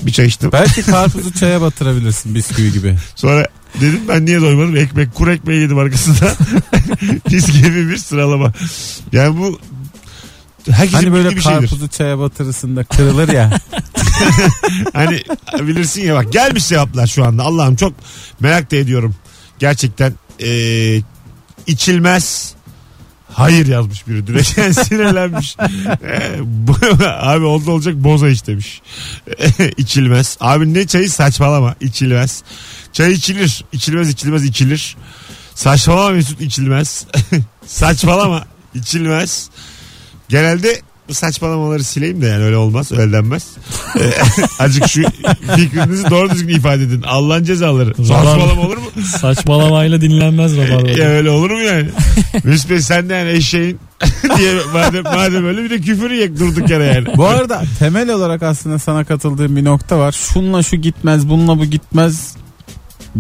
Speaker 2: Bir çay içtim.
Speaker 4: Belki karpuzu çaya batırabilirsin bisküvi gibi.
Speaker 2: Sonra dedim ben niye doymadım? Ekmek, kuru ekmeği yedim arkasında. Biz gibi bir sıralama. Yani bu herkesin
Speaker 4: Hani böyle
Speaker 2: bildiği bir şeydir.
Speaker 4: karpuzu çaya batırırsın da kırılır ya.
Speaker 2: Hani bilirsin ya bak gelmiş cevaplar şu anda. Allah'ım çok merak da ediyorum. Gerçekten eee, içilmez Hayır yazmış biri direkt Yani sinirlenmiş. Eee, bu- abi oldu olacak boza iç demiş. E, içilmez. Abi ne çayı saçmalama içilmez. Çay içilir. İçilmez içilmez içilir. Saçmalama Mesut içilmez. saçmalama içilmez. Genelde bu saçmalamaları sileyim de yani öyle olmaz öyle denmez. Ee, Azıcık şu fikrinizi doğru düzgün ifade edin. Allah'ın cezaları. Saçmalama olur mu?
Speaker 3: Saçmalamayla dinlenmez
Speaker 2: Ee, ya
Speaker 3: rabarba.
Speaker 2: öyle olur mu yani? Mesut Bey sen de yani eşeğin diye madem, madem öyle bir de küfür yek durduk yere yani.
Speaker 4: Bu arada temel olarak aslında sana katıldığım bir nokta var. Şunla şu gitmez, bununla bu gitmez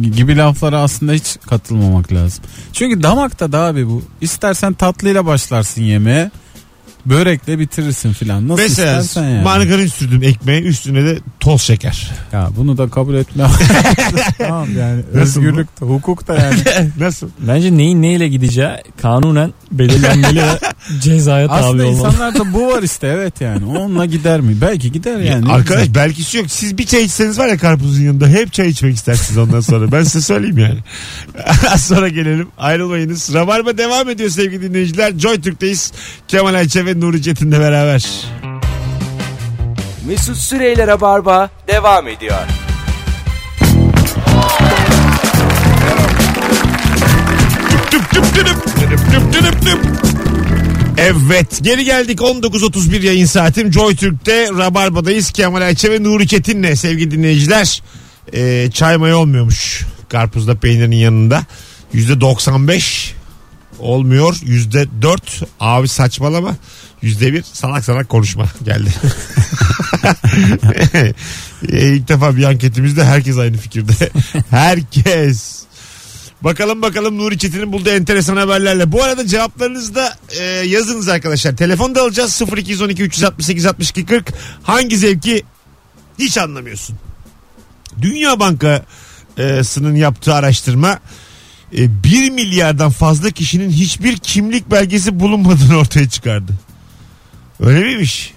Speaker 4: gibi laflara aslında hiç katılmamak lazım. Çünkü damakta da abi bu. İstersen tatlıyla başlarsın yemeğe. Börekle bitirirsin filan. Nasıl
Speaker 2: Mesela
Speaker 4: istersen yani.
Speaker 2: margarin sürdüm ekmeğe üstüne de toz şeker.
Speaker 4: Ya bunu da kabul etme. tamam yani
Speaker 2: Nasıl bu?
Speaker 4: özgürlük de hukuk da yani.
Speaker 2: Nasıl?
Speaker 3: Bence neyin neyle gideceği kanunen belirlenmeli ve cezaya tabi
Speaker 4: Aslında
Speaker 3: olmalı.
Speaker 4: insanlarda bu var işte evet yani. Onunla gider mi? Belki gider yani. Ne
Speaker 2: Arkadaş belkisi yok. Siz bir çay içseniz var ya karpuzun yanında hep çay içmek istersiniz ondan sonra. Ben size söyleyeyim yani. Az sonra gelelim. Ayrılmayınız. Rabarba devam ediyor sevgili dinleyiciler. Joy Türk'teyiz. Kemal Ayçe ve Nuri Çetin'le beraber.
Speaker 1: Mesut Süreyler'e barba devam ediyor.
Speaker 2: Tüp tüp tüdüp, tüdüp tüp tüdüp tüp. Evet geri geldik 19.31 yayın saatim Joy Türk'te Rabarba'dayız Kemal Ayçe ve Nuri Çetin'le sevgili dinleyiciler Ee, çay maya olmuyormuş karpuzda peynirin yanında %95 olmuyor %4 abi saçmalama %1 salak salak konuşma geldi Ee, İlk defa bir anketimizde herkes aynı fikirde herkes Bakalım bakalım Nuri Çetin'in bulduğu enteresan haberlerle. Bu arada cevaplarınızı da e, yazınız arkadaşlar. Telefon da alacağız 0212 368 62 40. Hangi zevki hiç anlamıyorsun. Dünya Bankası'nın yaptığı araştırma e, 1 milyardan fazla kişinin hiçbir kimlik belgesi bulunmadığını ortaya çıkardı. Öyle miymiş?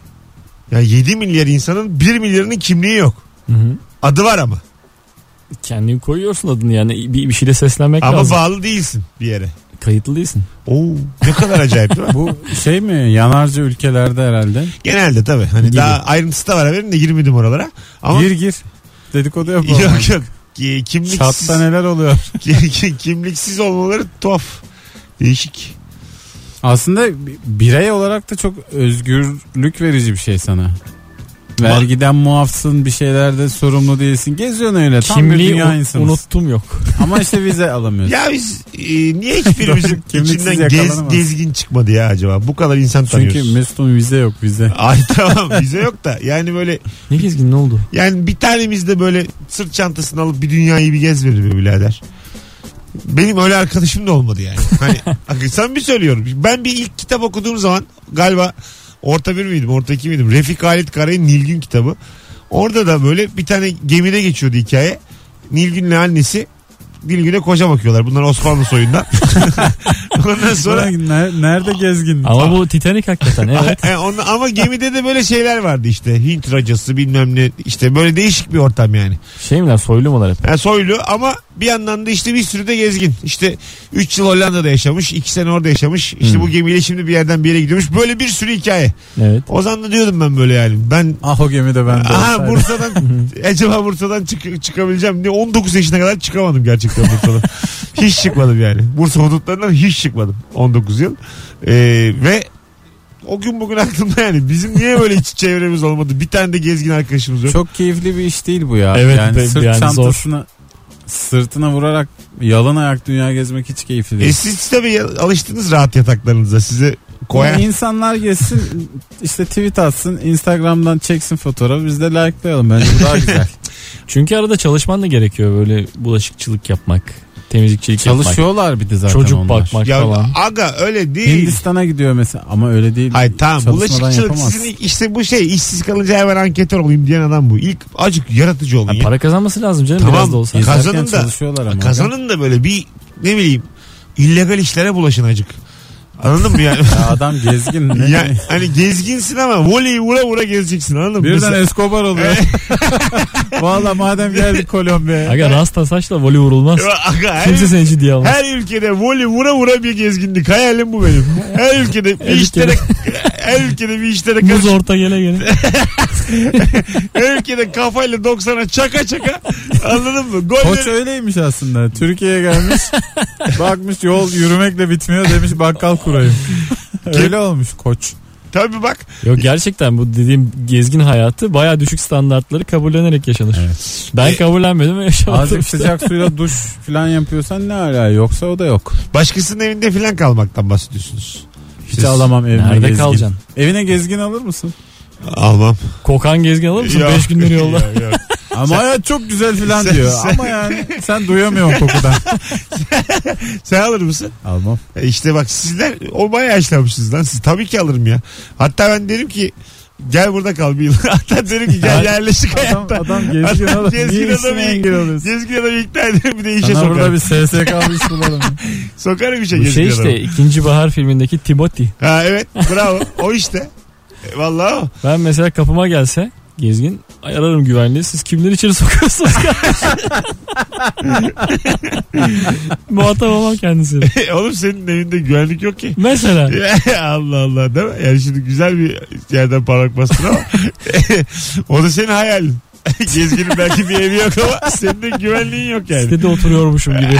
Speaker 2: Ya 7 milyar insanın 1 milyarının kimliği yok.
Speaker 3: Hı hı.
Speaker 2: Adı var ama.
Speaker 3: Kendin koyuyorsun adını yani bir, bir şeyle seslenmek
Speaker 2: Ama
Speaker 3: lazım.
Speaker 2: bağlı değilsin bir yere.
Speaker 3: Kayıtlı değilsin.
Speaker 2: Oo, ne kadar acayip değil mi?
Speaker 4: Bu şey mi yanarcı ülkelerde herhalde.
Speaker 2: Genelde tabii. Hani
Speaker 4: Gibi.
Speaker 2: daha ayrıntısı da var haberin de girmedim oralara. Ama
Speaker 4: Gir gir. Dedikodu yapalım.
Speaker 2: yok yok. Ki- Kimliksiz,
Speaker 4: Çatta neler oluyor?
Speaker 2: ki- ki- kimliksiz olmaları tuhaf. Değişik.
Speaker 4: Aslında bi- birey olarak da çok özgürlük verici bir şey sana. Vergiden muafsın bir şeylerde sorumlu değilsin. Geziyorsun öyle. Tam bir
Speaker 3: Kimliği
Speaker 4: dünya
Speaker 3: un-
Speaker 4: insanı.
Speaker 3: unuttum yok.
Speaker 4: Ama işte vize alamıyorsun.
Speaker 2: Ya biz e, niye hiçbirimizin
Speaker 4: Kimliksiz
Speaker 2: içinden gez,
Speaker 4: yakalanamaz.
Speaker 2: gezgin çıkmadı ya acaba? Bu kadar insan tanıyoruz.
Speaker 4: Çünkü Mesut'un vize yok vize.
Speaker 2: Ay tamam bize yok da yani böyle
Speaker 3: Ne gezgin ne oldu?
Speaker 2: yani bir tanemiz de böyle sırt çantasını alıp bir dünyayı bir gez verir be birader. Benim öyle arkadaşım da olmadı yani. Hani hakikaten sen bir söylüyorum. Ben bir ilk kitap okuduğum zaman galiba orta bir miydim orta iki miydim? Refik Halit Karay'ın Nilgün kitabı. Orada da böyle bir tane gemide geçiyordu hikaye. Nilgün'le annesi Nilgün'e koca bakıyorlar. Bunlar Osmanlı soyundan. Ondan sonra
Speaker 4: Ulan ne- nerede gezgin?
Speaker 3: Ama bu Titanic hakikaten evet.
Speaker 2: He, onun- ama gemide de böyle şeyler vardı işte. Hint racası bilmem ne işte böyle değişik bir ortam yani.
Speaker 3: Şey mi lan soylu mu lan hep?
Speaker 2: Ha, soylu ama bir yandan da işte bir sürü de gezgin. İşte 3 yıl Hollanda'da yaşamış, 2 sene orada yaşamış. İşte bu gemiyle şimdi bir yerden bir yere gidiyormuş. Böyle bir sürü hikaye.
Speaker 3: Evet.
Speaker 2: O zaman da diyordum ben böyle yani. Ben
Speaker 4: Ah o gemi de bende.
Speaker 2: Aha
Speaker 4: olsaydı.
Speaker 2: Bursa'dan acaba Bursa'dan çık- çıkabileceğim diye 19 yaşına kadar çıkamadım gerçekten Bursa'dan. hiç çıkmadım yani. Bursa hudutlarından hiç çıkmadım 19 yıl. Ee, ve o gün bugün aklımda yani bizim niye böyle hiç çevremiz olmadı? Bir tane de gezgin arkadaşımız yok.
Speaker 4: Çok keyifli bir iş değil bu ya.
Speaker 3: Evet,
Speaker 4: yani
Speaker 3: be-
Speaker 4: sırt
Speaker 3: yani zor.
Speaker 4: çantasına sırtına vurarak yalan ayak dünya gezmek hiç keyifli
Speaker 2: E
Speaker 4: değil.
Speaker 2: siz tabii ya- alıştınız rahat yataklarınıza. Size koyan
Speaker 4: Yani insanlar gezsin işte tweet atsın Instagram'dan çeksin fotoğrafı biz de likelayalım bence bu daha güzel.
Speaker 3: Çünkü arada çalışman da gerekiyor böyle bulaşıkçılık yapmak, temizlikçilik yapmak.
Speaker 4: Çalışıyorlar bir de zaten
Speaker 3: Çocuk
Speaker 4: onlar.
Speaker 3: bakmak
Speaker 2: ya
Speaker 3: falan.
Speaker 2: aga öyle değil.
Speaker 4: Hindistan'a gidiyor mesela ama öyle değil.
Speaker 2: Hayır tamam
Speaker 4: Çalışmadan
Speaker 2: bulaşıkçılık
Speaker 4: yapamaz.
Speaker 2: sizin işte bu şey işsiz kalınca hemen anketör olayım diyen adam bu. İlk acık yaratıcı olun
Speaker 3: Ha,
Speaker 2: ya.
Speaker 3: para kazanması lazım canım
Speaker 2: Tamam,
Speaker 3: biraz da olsa.
Speaker 2: kaz-
Speaker 4: Gezerken
Speaker 2: kazanın da-
Speaker 4: çalışıyorlar ama.
Speaker 2: Kazanın da böyle bir ne bileyim illegal işlere bulaşın acık. Anladın mı yani?
Speaker 4: Ya adam gezgin. Ne?
Speaker 2: yani hani gezginsin ama voleyi vura vura gezeceksin anladın mı?
Speaker 4: Birden
Speaker 2: Mesela-
Speaker 4: Escobar oluyor. Valla madem geldik Kolombiya'ya.
Speaker 3: Aga rasta saçla voley vurulmaz.
Speaker 2: Aga, her,
Speaker 3: Kimse seni ciddiye almaz.
Speaker 2: her ülkede voley vura vura bir gezginlik. Hayalim bu benim. Her ülkede bir
Speaker 3: Her
Speaker 2: işlere
Speaker 3: ülkede.
Speaker 2: her ülkede bir işlere
Speaker 3: Muz
Speaker 2: karışıp
Speaker 3: orta gele gele.
Speaker 2: her ülkede kafayla 90'a çaka çaka anladın mı?
Speaker 4: Koç
Speaker 2: Golleri
Speaker 4: öyleymiş aslında. Türkiye'ye gelmiş. bakmış yol yürümekle bitmiyor demiş bakkal kurayım. Öyle olmuş koç.
Speaker 2: tabii bak
Speaker 3: Yok gerçekten bu dediğim gezgin hayatı baya düşük standartları kabullenerek yaşanır. Ben
Speaker 2: E-
Speaker 3: kabullenmedim ve yaşamadım.
Speaker 4: Azıcık sıcak suyla duş falan yapıyorsan ne ala yoksa o da yok.
Speaker 2: başkasının evinde filan kalmaktan bahsediyorsunuz.
Speaker 4: Hiç
Speaker 2: Siz-
Speaker 4: alamam evine
Speaker 3: Nerede
Speaker 4: gezgin.
Speaker 3: kalacaksın?
Speaker 4: Evine gezgin alır mısın?
Speaker 2: Almam.
Speaker 3: Kokan gezgin alır mısın?
Speaker 2: Yok.
Speaker 3: 5 gündür yolda.
Speaker 2: Yok, yok.
Speaker 4: Ama hayat çok güzel falan
Speaker 2: Sen-
Speaker 4: diyor.
Speaker 2: sen-
Speaker 4: Ama yani sen duyamıyorsun kokudan.
Speaker 2: Sen alır mısın?
Speaker 4: Almam.
Speaker 2: E İşte bak sizler o bayağı yaşlanmışsınız lan. Siz tabii ki alırım ya. Hatta ben derim ki gel burada kal bir yıl. Hatta derim ki gel
Speaker 4: Adam-
Speaker 2: yerleşik
Speaker 4: Adam,
Speaker 2: hayatta.
Speaker 4: adam gezgin
Speaker 2: Adam
Speaker 4: adam.
Speaker 2: gezgin
Speaker 4: Niye
Speaker 2: adamı
Speaker 4: işine engel oluyorsun?
Speaker 2: Gezgin adamı ikna ederim bir de işe
Speaker 4: Sana burada
Speaker 2: sokarım.
Speaker 4: bir şey SSK bir iş bulalım.
Speaker 2: Sokarım işe
Speaker 3: Bu
Speaker 2: gezgin şey
Speaker 3: şey işte ikinci bahar filmindeki Timothy.
Speaker 2: Ha evet bravo o işte. E, Vallahi o.
Speaker 3: Ben mesela kapıma gelse gezgin ararım güvenliği. Siz kimleri içeri sokuyorsunuz Muhatap olmam kendisi.
Speaker 2: E, Oğlum senin evinde güvenlik yok ki.
Speaker 3: Mesela
Speaker 2: Allah Allah değil mi? Yani şimdi güzel bir yerden parmak bastın ama o da senin hayalin. Gezginin belki bir evi yok ama senin de güvenliğin yok yani.
Speaker 3: sitede oturuyormuşum gibi.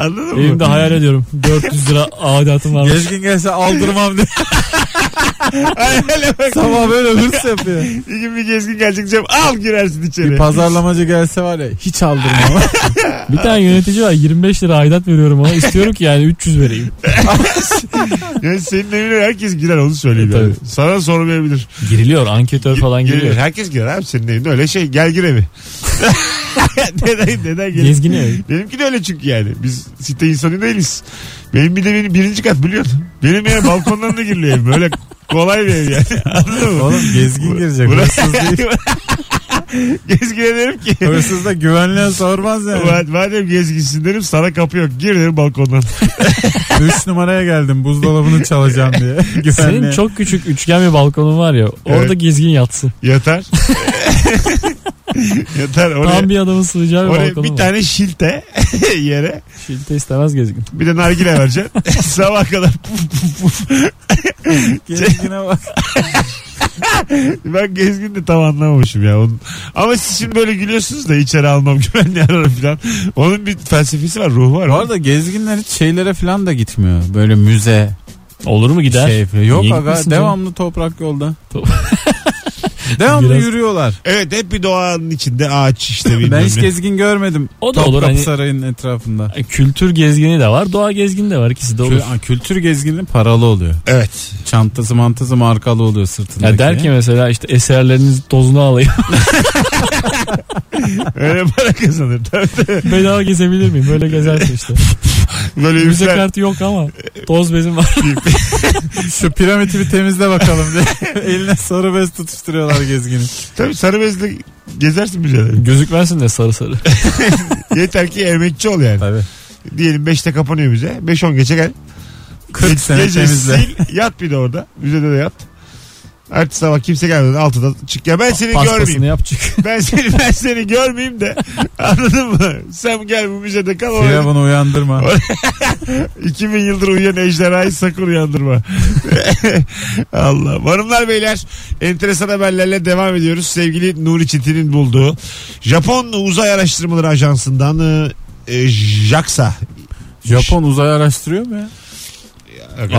Speaker 2: Anladın mı?
Speaker 3: Evimde hayal ediyorum. 400 lira aidatım var.
Speaker 4: Gezgin gelse aldırmam diye.
Speaker 2: Hayale bak.
Speaker 4: Sabah böyle hırs yapıyor.
Speaker 2: Bir gün bir gezgin gelecek diyeceğim al girersin
Speaker 4: Bir
Speaker 2: içeri.
Speaker 4: pazarlamacı gelse var ya hiç aldırmam.
Speaker 3: Bir tane yönetici var 25 lira aidat veriyorum ona. İstiyorum ki yani 300 vereyim.
Speaker 2: Yani senin evine herkes girer onu söyleyeyim.
Speaker 3: E,
Speaker 2: yani. Sana sormayabilir.
Speaker 3: Giriliyor anketör falan
Speaker 2: Gir-
Speaker 3: giriyor.
Speaker 2: Herkes girer abi senin evinde öyle şey gel gir evi. neden neden gel?
Speaker 3: Gezgin ev.
Speaker 2: Benimki de öyle çünkü yani. Biz site insanı değiliz. Benim bir de benim birinci kat biliyorsun. Benim ev balkondan da giriliyor evim. Öyle kolay bir ev yani. Anladın mı?
Speaker 4: Oğlum gezgin girecek. Hırsız değil.
Speaker 2: Gezgine derim ki.
Speaker 4: Hırsız da güvenliğe sormaz yani.
Speaker 2: "Ma- Madem gezginsin derim sana kapı yok. Gir derim balkondan.
Speaker 4: 3 numaraya geldim buzdolabını çalacağım diye. Güvenliğe.
Speaker 3: Senin çok küçük üçgen bir balkonun var ya. Orada
Speaker 2: hani- Evet.
Speaker 3: gezgin yatsın.
Speaker 2: Yatar. Yatar. Oraya,
Speaker 3: Tam bir adamın sığacağı bir
Speaker 2: oraya
Speaker 3: balkonun
Speaker 2: bir
Speaker 3: var.
Speaker 2: tane şilte yere
Speaker 3: Şilte istemez gezgin.
Speaker 2: bir de nargile vereceksin. Sabah kadar puf puf puf.
Speaker 4: Gezgine bak.
Speaker 2: Ben gezgin de tam anlamamışım ya. Onun- Ama siz şimdi böyle gülüyorsunuz da içeri almam güvenli ararım falan. Onun bir felsefesi var ruhu var.
Speaker 4: Bu arada gezginler hiç şeylere falan da gitmiyor. Böyle müze,
Speaker 3: Olur mu gider?
Speaker 4: şey falan. Yok
Speaker 3: Niye
Speaker 4: aga
Speaker 3: gitmesin
Speaker 4: devamlı toprak yolda.
Speaker 3: Top-
Speaker 4: devamlı
Speaker 3: Biraz-
Speaker 4: yürüyorlar.
Speaker 2: Evet hep bir doğanın içinde ağaç işte bilmem
Speaker 4: Ben hiç
Speaker 2: ne.
Speaker 4: gezgin görmedim.
Speaker 3: O da
Speaker 4: Topkapı
Speaker 3: olur hani-
Speaker 4: Sarayı'nın etrafında.
Speaker 3: E, Kültür gezgini de var, doğa gezgini de var. İkisi de olur.
Speaker 4: Kü- Kültür gezginin paralı oluyor.
Speaker 2: Evet.
Speaker 4: Çantası mantası markalı oluyor sırtındaki.
Speaker 3: Ya der ki mesela işte eserleriniz tozunu alayım.
Speaker 2: Öyle para kazanır. Tabii, tabii.
Speaker 3: Bedava gezebilir miyim? Böyle gezersin işte.
Speaker 2: Böyle
Speaker 3: Müze
Speaker 2: üfler.
Speaker 3: kartı yok ama toz bezim var.
Speaker 4: Şu piramidi bir temizle bakalım diye. Eline sarı bez tutuşturuyorlar gezginin.
Speaker 2: Tabii sarı bezle gezersin müzeleri.
Speaker 3: Gözükmezsin de sarı sarı.
Speaker 2: Yeter ki emekçi ol yani.
Speaker 4: Tabii.
Speaker 2: Diyelim 5'te kapanıyor müze. 5-10 geçe gel. Ge-
Speaker 4: 40 sene
Speaker 2: gece
Speaker 4: temizle.
Speaker 2: sil, yat bir de orada. Müzede de yat. Ertesi sabah kimse gelmeden altıda çık ya ben seni görmeyeyim.
Speaker 3: Paspasını yapacak.
Speaker 2: Ben seni ben seni görmeyeyim de anladın mı? Sen gel bu müzede kal. orada.
Speaker 4: Firavun'u uyandırma.
Speaker 2: 2000 yıldır uyuyan ejderhayı sakın uyandırma. Allah. Hanımlar beyler enteresan haberlerle devam ediyoruz. Sevgili Nuri Çetin'in bulduğu Japon Uzay Araştırmaları Ajansı'ndan e, e, JAXA
Speaker 4: Japon uzay araştırıyor mu ya?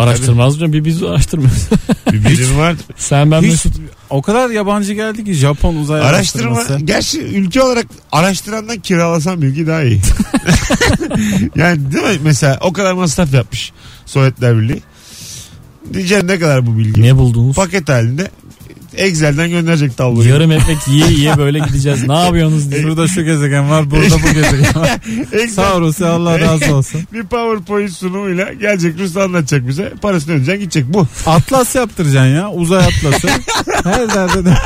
Speaker 3: Araştırmaz mı? Bir biz araştırmıyoruz.
Speaker 2: Bir bilim var.
Speaker 3: Sen ben
Speaker 4: Hiç-
Speaker 3: Mesut.
Speaker 4: O kadar yabancı geldi ki Japon uzay
Speaker 2: Araştırma.
Speaker 4: araştırması.
Speaker 2: Gerçi ülke olarak araştırandan kiralasan bilgi daha iyi. yani değil mi? Mesela o kadar masraf yapmış Sovyetler Birliği. Diyeceksin ne kadar bu bilgi?
Speaker 3: Ne buldunuz?
Speaker 2: Paket halinde Excel'den gönderecek tabloyu.
Speaker 3: Yarım ekmek yiye yiye böyle gideceğiz. Ne yapıyorsunuz diye.
Speaker 4: Şurada şu gezegen var, burada bu gezegen var.
Speaker 2: Excel
Speaker 4: Sağ olun, Allah razı olsun.
Speaker 2: bir PowerPoint sunumuyla gelecek Rus anlatacak bize. Parasını ödeyecek gidecek bu.
Speaker 4: Atlas yaptıracaksın ya, uzay atlası. Her derde de.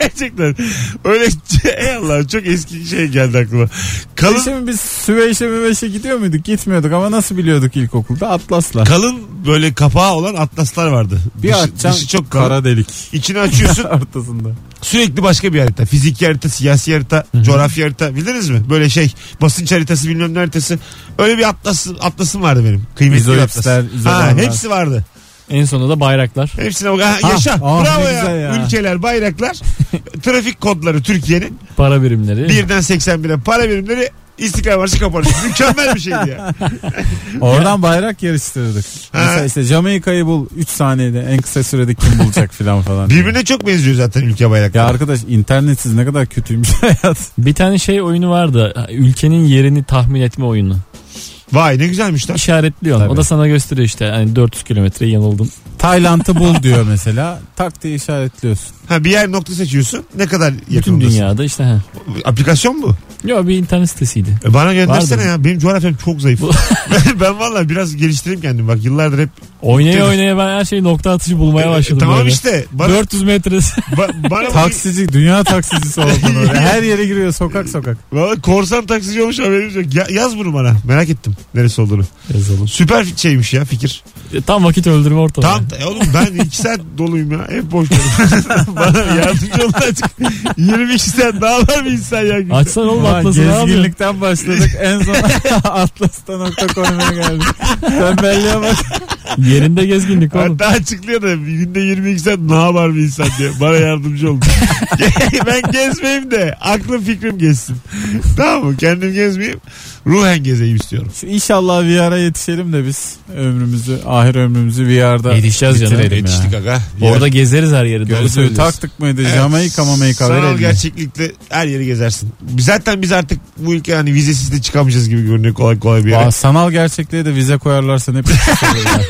Speaker 2: Gerçekten öyle şey- ey Allah çok eski şey geldi aklıma. Kalın
Speaker 4: E Şimdi biz Süveyş'e Müveyş'e gidiyor muyduk? Gitmiyorduk ama nasıl biliyorduk ilkokulda? Atlasla.
Speaker 2: kalın böyle kapağı olan atlaslar vardı.
Speaker 4: Bir
Speaker 2: dışı,
Speaker 4: açacaksın
Speaker 2: dışı çok kalın.
Speaker 4: kara delik
Speaker 2: İçini açıyorsun
Speaker 4: ortasında.
Speaker 2: sürekli başka bir harita. Fiziki harita, siyasi harita, coğrafya harita bildiniz mi? Böyle şey basınç haritası bilmem ne haritası. Öyle bir atlas, atlasım vardı benim. Kıymetli bir atlas.
Speaker 4: İzoipsler,
Speaker 2: Ha,
Speaker 4: izolarlar.
Speaker 2: hepsi vardı.
Speaker 3: En sonunda da bayraklar.
Speaker 2: Hepsine bak. Ha, yaşa. Bravo
Speaker 4: ah, ne
Speaker 2: ya.
Speaker 4: güzel ya.
Speaker 2: Ülkeler, bayraklar, trafik kodları Türkiye'nin.
Speaker 3: Para birimleri.
Speaker 2: Birden 81'e para birimleri İstiklal Marşı kapanış. Mükemmel bir şeydi ya.
Speaker 4: Oradan bayrak yarıştırdık. Mesela işte Jamaika'yı bul 3 saniyede en kısa sürede kim bulacak filan falan.
Speaker 2: Birbirine çok benziyor zaten ülke bayrakları.
Speaker 4: Ya arkadaş internetsiz ne kadar kötüymüş hayat.
Speaker 3: Bir tane şey oyunu vardı. Ülkenin yerini tahmin etme oyunu.
Speaker 2: Vay ne güzelmiş lan.
Speaker 3: İşaretliyorsun.
Speaker 4: Tabii.
Speaker 3: O da sana gösteriyor işte. Hani 400 kilometre yanıldım.
Speaker 4: Tayland'ı bul diyor mesela. Tak diye işaretliyorsun.
Speaker 2: Ha, bir yer nokta seçiyorsun. Ne kadar
Speaker 3: Bütün
Speaker 2: yakındasın.
Speaker 3: dünyada işte. ha.
Speaker 2: Aplikasyon bu.
Speaker 3: Yo bir internet sitesiydi.
Speaker 2: E, bana göndersene
Speaker 3: Vardır.
Speaker 2: ya. Benim coğrafyam çok zayıf. ben valla biraz geliştireyim kendimi. Bak yıllardır hep.
Speaker 3: Oynaya
Speaker 2: Tabii. E,
Speaker 3: oynaya ben her şeyi nokta atışı bulmaya başladım.
Speaker 2: tamam
Speaker 3: böyle.
Speaker 2: işte. Bana,
Speaker 3: 400 metre.
Speaker 2: ba- bana
Speaker 4: Taksici dünya taksicisi oldun öyle. Her yere giriyor sokak sokak.
Speaker 2: Valla korsan taksici olmuş haberimiz yok. Ya- yaz bunu bana. Merak ettim neresi olduğunu.
Speaker 3: Yazalım.
Speaker 2: Süper fi- şeymiş ya fikir.
Speaker 3: E, Tam vakit öldürme ortamı.
Speaker 2: Tam e oğlum ben 2 saat doluyum ya. Hep boş doluyum. Bana yardımcı olun azıcık. 22 saat daha var mı insan ya?
Speaker 3: Açsana oğlum
Speaker 4: Ulan
Speaker 3: atlası ne yapıyorsun?
Speaker 4: gezginlikten başladık. En son atlas'ta.com'a geldik. Tembelliğe bak.
Speaker 3: Yerinde gezginlik oğlum.
Speaker 2: Hatta açıklıyor da bir günde 22 saat ne var mı insan diye. Bana yardımcı olun. ben gezmeyeyim de aklım fikrim gezsin. tamam mı? Kendim gezmeyeyim. Ruhen gezeyim istiyorum.
Speaker 4: Şu İnşallah VR'a yetişelim de biz ömrümüzü, ahir ömrümüzü VR'da
Speaker 3: Yetişeceğiz canım.
Speaker 4: bitirelim ya.
Speaker 2: Yetiştik aga.
Speaker 3: Orada gezeriz her yeri. doğru
Speaker 4: Gözlüğü
Speaker 3: söylüyorsun.
Speaker 4: taktık mıydı?
Speaker 2: Evet.
Speaker 4: Jamaika Mamaika
Speaker 2: Sanal
Speaker 4: verelim. ya.
Speaker 2: gerçeklikle her yeri gezersin. Zaten biz artık bu ülke hani vizesiz de çıkamayacağız gibi görünüyor kolay kolay bir yere.
Speaker 4: Aa, sanal gerçekliğe de vize koyarlarsa ne pis olur ya.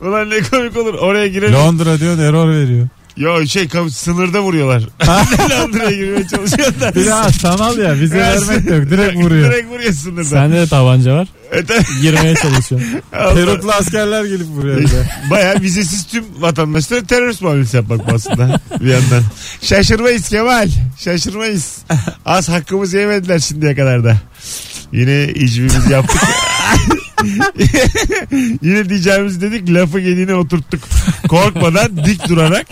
Speaker 2: Ulan ne komik olur oraya girelim.
Speaker 4: Londra diyor error veriyor.
Speaker 2: Yo şey kav- sınırda vuruyorlar. Londra'ya girmeye çalışıyorlar.
Speaker 4: Bir daha sanal ya vize vermek de yok direkt vuruyor.
Speaker 2: Direkt vuruyor sınırda.
Speaker 3: Sende de tabanca var.
Speaker 2: E tabii,
Speaker 3: Girmeye çalışıyorsun.
Speaker 2: Allah.
Speaker 4: Peruklu askerler gelip vuruyor. bir de.
Speaker 2: Baya vizesiz tüm vatandaşlara terörist muamelesi yapmak bu aslında bir yandan. Şaşırmayız Kemal. Şaşırmayız. Az hakkımızı yemediler şimdiye kadar da. Yine icbimizi yaptık. Yine diyeceğimiz dedik lafı gediğine oturttuk. Korkmadan dik durarak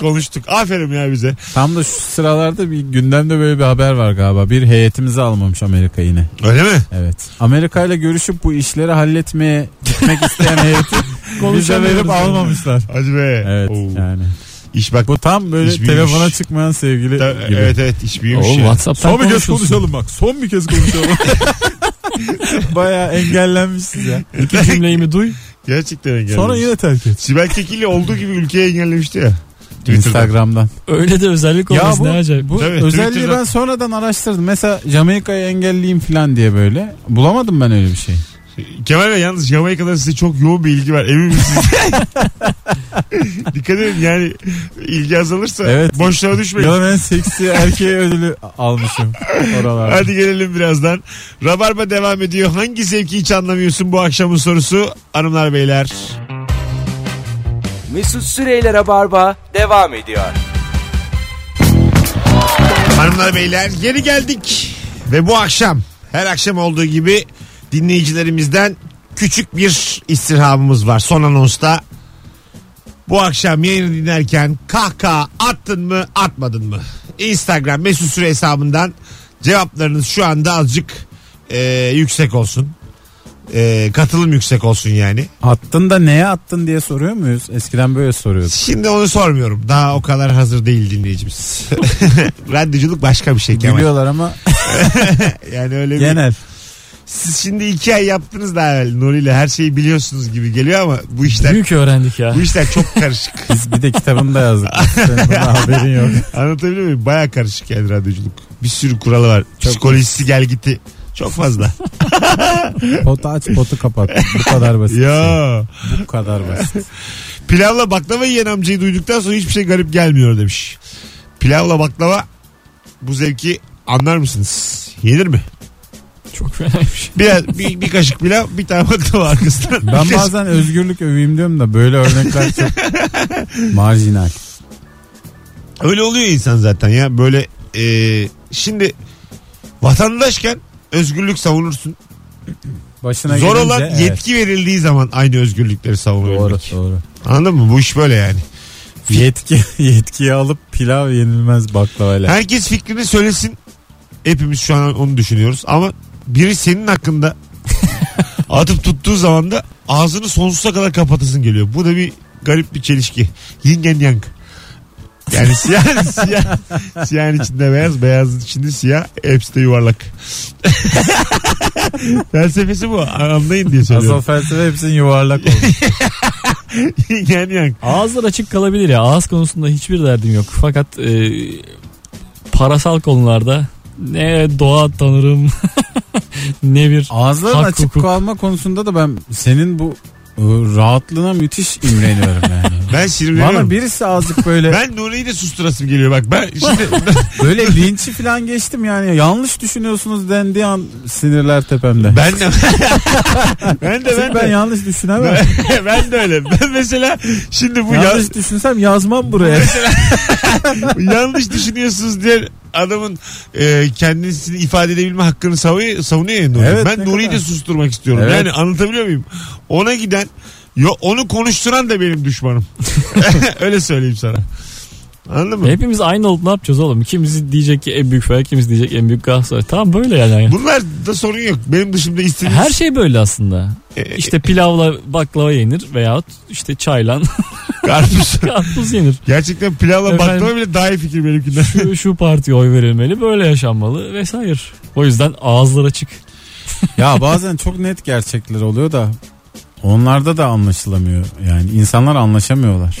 Speaker 2: konuştuk. Aferin ya bize.
Speaker 4: Tam da şu sıralarda bir gündemde böyle bir haber var galiba. Bir heyetimizi almamış Amerika yine.
Speaker 2: Öyle mi?
Speaker 4: Evet. Amerika ile görüşüp bu işleri halletmeye gitmek isteyen heyeti vize verip almamışlar.
Speaker 2: Hadi be.
Speaker 4: Evet
Speaker 2: Oo.
Speaker 4: yani.
Speaker 2: İş bak.
Speaker 4: Bu tam böyle
Speaker 2: İş büyümüş.
Speaker 4: telefona çıkmayan sevgili
Speaker 2: Ta-
Speaker 4: gibi.
Speaker 2: evet evet iş büyümüş.
Speaker 3: Oğlum
Speaker 2: ya.
Speaker 3: Whatsapp'tan
Speaker 4: Son bir kez
Speaker 3: konuşulsun.
Speaker 4: konuşalım bak. Son bir kez konuşalım. Baya engellenmişiz ya.
Speaker 3: İki cümleyimi duy.
Speaker 2: Gerçekten engellemiş.
Speaker 4: Sonra yine terk et.
Speaker 2: Sibel Kekilli olduğu gibi ülkeye engellemişti ya. Twitter'da.
Speaker 4: Instagram'dan.
Speaker 3: Öyle de özellik
Speaker 4: Ya
Speaker 3: olmaz
Speaker 4: bu-
Speaker 3: ne acayip.
Speaker 4: Bu
Speaker 2: Tabii,
Speaker 4: özelliği
Speaker 2: Twitter'dan.
Speaker 4: ben sonradan araştırdım. Mesela Jamaika'yı engelleyeyim falan diye böyle. Bulamadım ben öyle bir şey.
Speaker 2: Kemal Bey yalnız Jamaika'da size çok yoğun bir ilgi var. Emin misiniz? Dikkat edin yani ilgi azalırsa
Speaker 4: Evet.
Speaker 2: boşluğa düşmeyin.
Speaker 4: Yılın en seksi erkeği ödülü almışım oralarda.
Speaker 2: Hadi gelelim birazdan. Rabarba devam ediyor. Hangi zevki hiç anlamıyorsun bu akşamın sorusu? Hanımlar beyler.
Speaker 1: Mesut Süreyler'e barba devam ediyor.
Speaker 2: Hanımlar beyler geri geldik. Ve bu akşam her akşam olduğu gibi dinleyicilerimizden küçük bir istirhamımız var son anonsta. Bu akşam yayını dinlerken kahkaha attın mı atmadın mı? Instagram mesut süre hesabından cevaplarınız şu anda azıcık e, yüksek olsun. E, katılım yüksek olsun yani.
Speaker 4: Attın da neye attın diye soruyor muyuz? Eskiden böyle soruyorduk.
Speaker 2: Şimdi onu sormuyorum. Daha o kadar hazır değil dinleyicimiz. Radyoculuk başka bir şey Kemal.
Speaker 4: Gülüyorlar ama
Speaker 2: Yani öyle bir
Speaker 4: genel.
Speaker 2: Siz şimdi iki ay yaptınız daha evvel Nuri ile her şeyi biliyorsunuz gibi geliyor ama bu işler
Speaker 3: Büyük öğrendik ya.
Speaker 2: bu işler çok karışık.
Speaker 4: Biz bir de kitabını da yazdık. Senin buna haberin yok.
Speaker 2: Anlatabiliyor muyum? Baya karışık yani radyoculuk. Bir sürü kuralı var. Psikolojisi gel giti. Çok fazla.
Speaker 4: Potu aç potu kapat. Bu kadar basit.
Speaker 2: ya
Speaker 4: Bu kadar basit.
Speaker 2: pilavla baklava yiyen amcayı duyduktan sonra hiçbir şey garip gelmiyor demiş. Pilavla baklava bu zevki anlar mısınız? Yenir mi?
Speaker 3: Çok şey. fenaymış.
Speaker 2: Bir, bir, bir kaşık pilav bir tane baklava arkasından.
Speaker 4: Ben bazen özgürlük öveyim diyorum da böyle örnekler çok marjinal.
Speaker 2: Öyle oluyor insan zaten ya böyle e, şimdi vatandaşken özgürlük savunursun.
Speaker 4: Başına
Speaker 2: Zor
Speaker 4: gelince,
Speaker 2: olan
Speaker 4: evet.
Speaker 2: yetki verildiği zaman aynı özgürlükleri
Speaker 4: Doğru
Speaker 2: savunabilmek.
Speaker 4: doğru.
Speaker 2: Anladın mı? Bu iş böyle yani.
Speaker 4: Yetki, yetkiyi alıp pilav yenilmez baklavayla.
Speaker 2: Herkes fikrini söylesin. Hepimiz şu an onu düşünüyoruz ama biri senin hakkında atıp tuttuğu zaman da ağzını sonsuza kadar kapatasın geliyor. Bu da bir garip bir çelişki. Yin and yang. Yani siyah, siyah, siyahın içinde beyaz, beyazın içinde siyah, hepsi de yuvarlak. Felsefesi bu. Anlayın diye
Speaker 4: Asıl
Speaker 2: söylüyorum.
Speaker 4: felsefe hepsinin yuvarlak oldu.
Speaker 2: Yin and yang.
Speaker 3: Ağızlar açık kalabilir ya. Ağız konusunda hiçbir derdim yok. Fakat e, parasal konularda ne doğa tanırım ne bir
Speaker 4: Ağızların
Speaker 3: Hak,
Speaker 4: açık
Speaker 3: hukuk.
Speaker 4: kalma konusunda da ben senin bu e, rahatlığına müthiş imreniyorum yani.
Speaker 2: Ben şirinleniyorum.
Speaker 4: Bana birisi azıcık böyle
Speaker 2: Ben Nuri'yi de susturasım geliyor bak. Ben şimdi
Speaker 4: böyle linçi falan geçtim yani. Yanlış düşünüyorsunuz dendiği an sinirler tepemde.
Speaker 2: ben de ben de ben
Speaker 4: Çünkü ben
Speaker 2: de
Speaker 4: yanlış düşünemem.
Speaker 2: ben, ben de öyle. Ben mesela şimdi bu
Speaker 4: yanlış
Speaker 2: yanlış,
Speaker 4: düşünsem yazmam buraya.
Speaker 2: yanlış düşünüyorsunuz diye adamın e, kendisini ifade edebilme hakkını savunuyor, savunuyor ya Nuri.
Speaker 4: Evet,
Speaker 2: ben
Speaker 4: ne
Speaker 2: Nuri'yi de
Speaker 4: kadar.
Speaker 2: susturmak istiyorum.
Speaker 4: Evet.
Speaker 2: Yani anlatabiliyor muyum? Ona giden yo, onu konuşturan da benim düşmanım. öyle söyleyeyim sana. Anladın mı?
Speaker 3: Hepimiz aynı olup ne yapacağız oğlum? Kimisi diyecek ki en büyük Fener, kimisi diyecek en büyük Galatasaray. Tamam böyle yani.
Speaker 2: Bunlar da sorun yok. Benim dışımda istediğiniz
Speaker 3: Her şey böyle aslında.
Speaker 2: e,
Speaker 4: şey-
Speaker 3: İşte pilavla baklava yenir veyahut işte çayla
Speaker 2: e, karpuz.
Speaker 3: karpuz yenir.
Speaker 2: Gerçekten pilavla
Speaker 3: Efendim?
Speaker 2: baklava bile daha iyi fikir benimkinden.
Speaker 3: Şu, şu partiye oy verilmeli, böyle yaşanmalı vesaire. O yüzden ağızlar açık.
Speaker 4: ya bazen çok net gerçekler oluyor da onlarda da anlaşılamıyor. Yani insanlar anlaşamıyorlar.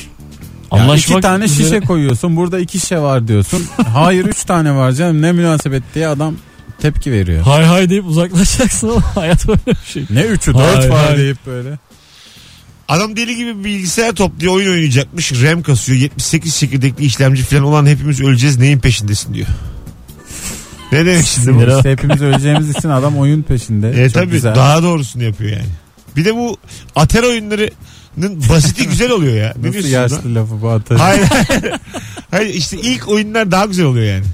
Speaker 4: Ya
Speaker 3: Anlaşmak
Speaker 4: iki tane
Speaker 3: üzere-
Speaker 4: şişe koyuyorsun. Burada iki şişe var diyorsun. Hayır üç tane var canım. Ne münasebet diye adam tepki veriyor.
Speaker 3: Hay hay deyip uzaklaşacaksın oğlum. Hayat böyle bir şey.
Speaker 4: Ne üçü
Speaker 3: Hayır,
Speaker 4: dört var
Speaker 3: hayır.
Speaker 4: deyip böyle.
Speaker 2: Adam deli gibi bilgisayar topluyor oyun oynayacakmış. RAM kasıyor 78 çekirdekli işlemci falan olan hepimiz öleceğiz neyin peşindesin diyor. Ne demek şimdi bu?
Speaker 3: Sinirli. Merhaba.
Speaker 4: İşte hepimiz öleceğimiz için adam oyun peşinde.
Speaker 2: E
Speaker 4: Çok
Speaker 2: tabii
Speaker 4: güzel.
Speaker 2: daha doğrusunu yapıyor yani. Bir de bu ater oyunlarının basiti güzel oluyor ya. Ne
Speaker 4: Nasıl
Speaker 2: diyorsun lan?
Speaker 4: yaşlı lafı bu atarı?
Speaker 2: Hayır. Hayır işte ilk oyunlar daha güzel oluyor yani.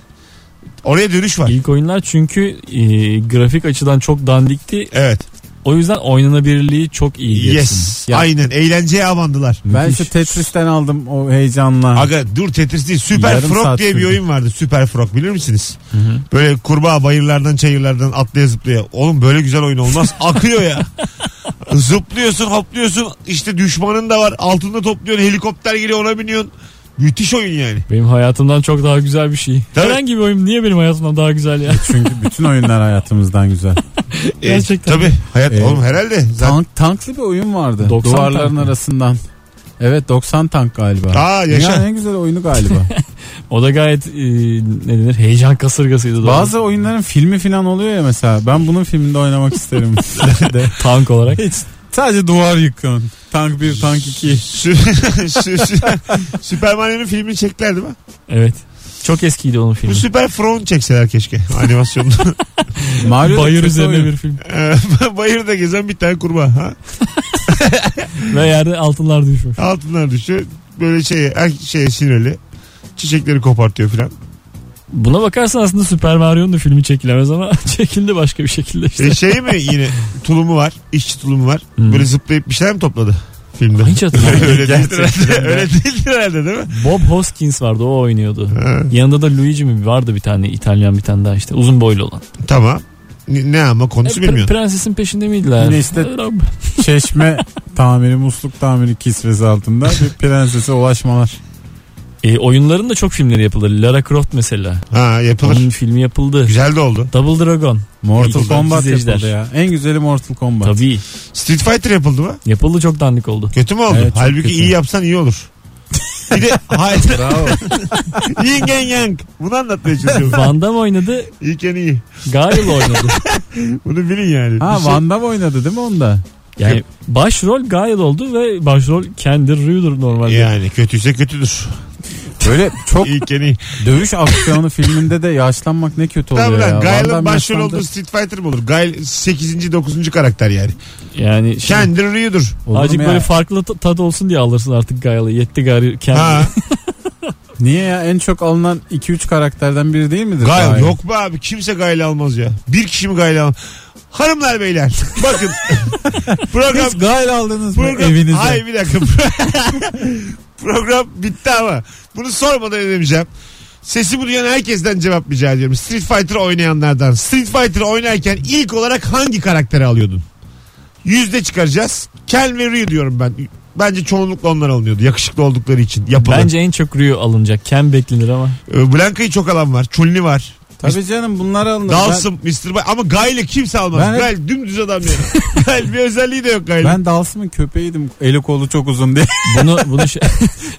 Speaker 2: Oraya dönüş var.
Speaker 3: İlk oyunlar çünkü e, grafik açıdan çok dandikti.
Speaker 2: Evet.
Speaker 3: O yüzden oynanabilirliği çok iyi. diyorsun.
Speaker 2: Yes.
Speaker 4: Ya-
Speaker 2: Aynen. Eğlenceye abandılar.
Speaker 4: Ben şu Tetris'ten aldım o heyecanla.
Speaker 2: Aga dur Tetris değil. Süper
Speaker 4: Yarım
Speaker 2: Frog
Speaker 4: saat
Speaker 2: diye bir
Speaker 4: sürdü.
Speaker 2: oyun vardı. Süper Frog bilir misiniz? Böyle kurbağa bayırlardan çayırlardan atlaya zıplaya. Oğlum böyle güzel oyun olmaz. Akıyor ya. Zıplıyorsun hopluyorsun. İşte düşmanın da var. Altında topluyorsun. Helikopter geliyor ona biniyorsun. Müthiş oyun yani.
Speaker 3: Benim hayatımdan çok daha güzel bir şey.
Speaker 2: Tabii.
Speaker 3: Herhangi bir oyun niye benim hayatımdan daha güzel ya?
Speaker 4: Çünkü bütün oyunlar hayatımızdan güzel.
Speaker 3: Gerçekten.
Speaker 2: E, tabii. Hayat
Speaker 4: Ee,
Speaker 2: oğlum herhalde. Zaten...
Speaker 4: Tank, tanklı bir oyun vardı.
Speaker 3: 90
Speaker 4: Duvarların
Speaker 3: tank mı?
Speaker 4: arasından. Evet 90 tank galiba.
Speaker 2: Aa, yaşa.
Speaker 4: Dünyanın en güzel oyunu galiba.
Speaker 3: O da gayet e, ne denir heyecan kasırgasıydı. doğru.
Speaker 4: Bazı oyunların filmi falan oluyor ya mesela. Ben bunun filminde oynamak isterim. De.
Speaker 3: tank olarak.
Speaker 4: Hiç sadece duvar yıkın. Tank 1, tank 2.
Speaker 2: Sü- sü- sü- Süper Mario'nun filmini çektiler değil mi?
Speaker 3: Evet. Çok eskiydi onun filmi.
Speaker 4: şey-
Speaker 2: Bu Süper Frog'un çekseler keşke animasyonda.
Speaker 4: Mario da
Speaker 3: Bayır
Speaker 4: kötü
Speaker 3: üzerine
Speaker 4: oyun.
Speaker 3: bir film.
Speaker 2: Ee, Bayırda gezen bir tane kurbağa. Ha?
Speaker 3: Ve yerde altınlar düşmüş.
Speaker 2: er, Altınlar düşüyor. Böyle şey, her şeye sinirli. Çiçekleri şey, kopartıyor filan.
Speaker 3: Buna bakarsan aslında Süper Mario'nun da filmi çekilemez ama çekildi başka bir şekilde işte.
Speaker 2: E şey mi yine tulumu var. işçi tulumu var.
Speaker 3: Hmm.
Speaker 2: Böyle zıplayıp bir şeyler mi topladı filmde?
Speaker 3: Hiç hatırlamıyorum.
Speaker 2: Öyle değildir
Speaker 3: Gerçekten
Speaker 2: herhalde.
Speaker 3: de.
Speaker 2: Öyle değildir herhalde değil mi?
Speaker 3: Bob Hoskins vardı o oynuyordu.
Speaker 2: Ha,
Speaker 3: Yanında da Luigi mi vardı bir tane İtalyan bir tane daha işte uzun boylu olan.
Speaker 2: tamam. Ne, ne ama
Speaker 3: E,
Speaker 2: konusu
Speaker 3: pre-
Speaker 2: bilmiyorum.
Speaker 3: prensesin peşinde miydiler? E,
Speaker 4: Yine işte- Çeşme tamiri, musluk tamiri kisvesi altında bir prensese ulaşmalar.
Speaker 3: E, oyunların da çok filmleri yapılır. Lara Croft mesela.
Speaker 2: Ha yapılır.
Speaker 3: Onun filmi yapıldı.
Speaker 2: Güzel de oldu.
Speaker 3: Double Dragon.
Speaker 4: Mortal
Speaker 3: İlk
Speaker 4: Kombat
Speaker 3: izleyiciler.
Speaker 4: yapıldı ya. En güzeli Mortal Kombat.
Speaker 3: Tabii.
Speaker 2: Street Fighter yapıldı mı?
Speaker 3: Yapıldı çok dandik oldu.
Speaker 2: Kötü mü oldu?
Speaker 4: Evet, çok
Speaker 2: Halbuki
Speaker 4: kötü.
Speaker 2: iyi yapsan iyi olur. Bir de hayır. Bravo. Yin yang yang. Bunu anlatmaya çalışıyorum.
Speaker 3: Van Damme oynadı.
Speaker 2: İyiken iyi.
Speaker 3: Gail oynadı.
Speaker 2: Bunu bilin yani.
Speaker 4: Ha
Speaker 2: Bir şey-
Speaker 4: Van Damme oynadı değil mi onda?
Speaker 3: Yani başrol Gail oldu ve başrol kendi Ryu'dur normalde.
Speaker 2: Yani kötüyse kötüdür.
Speaker 4: Böyle çok
Speaker 2: İyiken iyi.
Speaker 4: dövüş aksiyonu filminde de yaşlanmak ne kötü oluyor
Speaker 2: Tamam
Speaker 4: ya.
Speaker 2: lan
Speaker 4: Van
Speaker 2: Gail'in
Speaker 4: Damme
Speaker 2: başrol
Speaker 4: yaşlandı.
Speaker 2: olduğu Street Fighter mı olur? Gail 8. 9. karakter yani.
Speaker 3: Yani şey,
Speaker 2: Kendi Ryu'dur.
Speaker 4: Olur mu
Speaker 3: Azıcık
Speaker 4: ya?
Speaker 3: böyle farklı ta- tadı olsun diye alırsın artık Gail'ı. Yetti Gail kendi.
Speaker 2: Ha.
Speaker 4: Niye ya en çok alınan 2-3 karakterden biri değil midir?
Speaker 2: Gail yok be abi kimse Gail almaz ya. Bir kişi mi Gail almaz? Hanımlar beyler bakın program
Speaker 4: Hiç Gail aldınız mı
Speaker 2: program
Speaker 4: evinize?
Speaker 2: Hayır bir dakika. program bitti ama bunu sormadan edemeyeceğim. Sesi bu dünyanın herkesten cevap rica ediyorum. Street Fighter oynayanlardan. Street Fighter oynarken ilk olarak hangi karakteri alıyordun? Yüzde çıkaracağız. Kel ve Ryu diyorum ben. Bence çoğunlukla onlar alınıyordu. Yakışıklı oldukları için. Yapılı.
Speaker 3: Bence en çok Ryu alınacak. Ken beklenir ama.
Speaker 2: Ee, Blanca'yı çok alan var. Chun-Li var.
Speaker 4: Tabii canım bunlar alınır. Ben,
Speaker 2: Dalsın, Mr. Bay. Ama Gail'i kimse almaz.
Speaker 4: Ben-
Speaker 2: Gail dümdüz adam yani. Gail bir özelliği de yok Gail'in.
Speaker 4: ben Dalsım'ın köpeğiydim. Eli kolu çok uzun diye.
Speaker 3: Bunu bunu şey-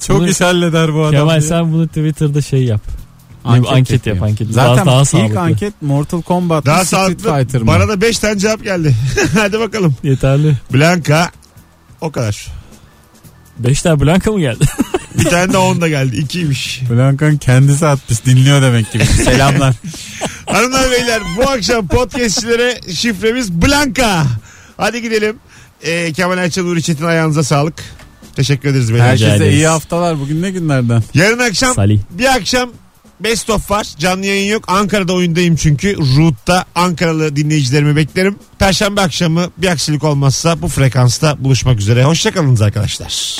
Speaker 4: çok
Speaker 3: Bunu-
Speaker 4: iş halleder bu adam.
Speaker 3: Kemal
Speaker 4: diye.
Speaker 3: sen bunu Twitter'da şey yap. Anket, yap
Speaker 4: yapayım.
Speaker 3: anket.
Speaker 4: Zaten
Speaker 3: daha, daha
Speaker 4: ilk
Speaker 3: sağlıklı.
Speaker 4: anket Mortal Kombat
Speaker 2: Daha
Speaker 4: mı Street
Speaker 2: sağlıklı.
Speaker 4: Fighter mı?
Speaker 2: Bana da 5 tane cevap geldi. Hadi bakalım.
Speaker 3: Yeterli.
Speaker 2: Blanka o kadar.
Speaker 3: Beş tane Blanka mı geldi?
Speaker 2: Bir tane de 10 da geldi. 2'ymiş.
Speaker 4: Blanka'nın kendisi atmış dinliyor demek ki. Selamlar.
Speaker 2: Hanımlar beyler bu akşam podcastçilere şifremiz Blanka. Hadi gidelim. Ee, Kemal Ayçal Uğur Çetin ayağınıza sağlık. Teşekkür ederiz beyler.
Speaker 3: Rica
Speaker 4: Herkese iyi
Speaker 3: ederiz.
Speaker 4: haftalar. Bugün ne günlerden?
Speaker 2: Yarın akşam
Speaker 3: Salih.
Speaker 2: bir akşam Best of var. Canlı yayın yok. Ankara'da oyundayım çünkü. Root'ta Ankaralı dinleyicilerimi beklerim. Perşembe akşamı bir aksilik olmazsa bu frekansta buluşmak üzere. Hoşçakalınız arkadaşlar.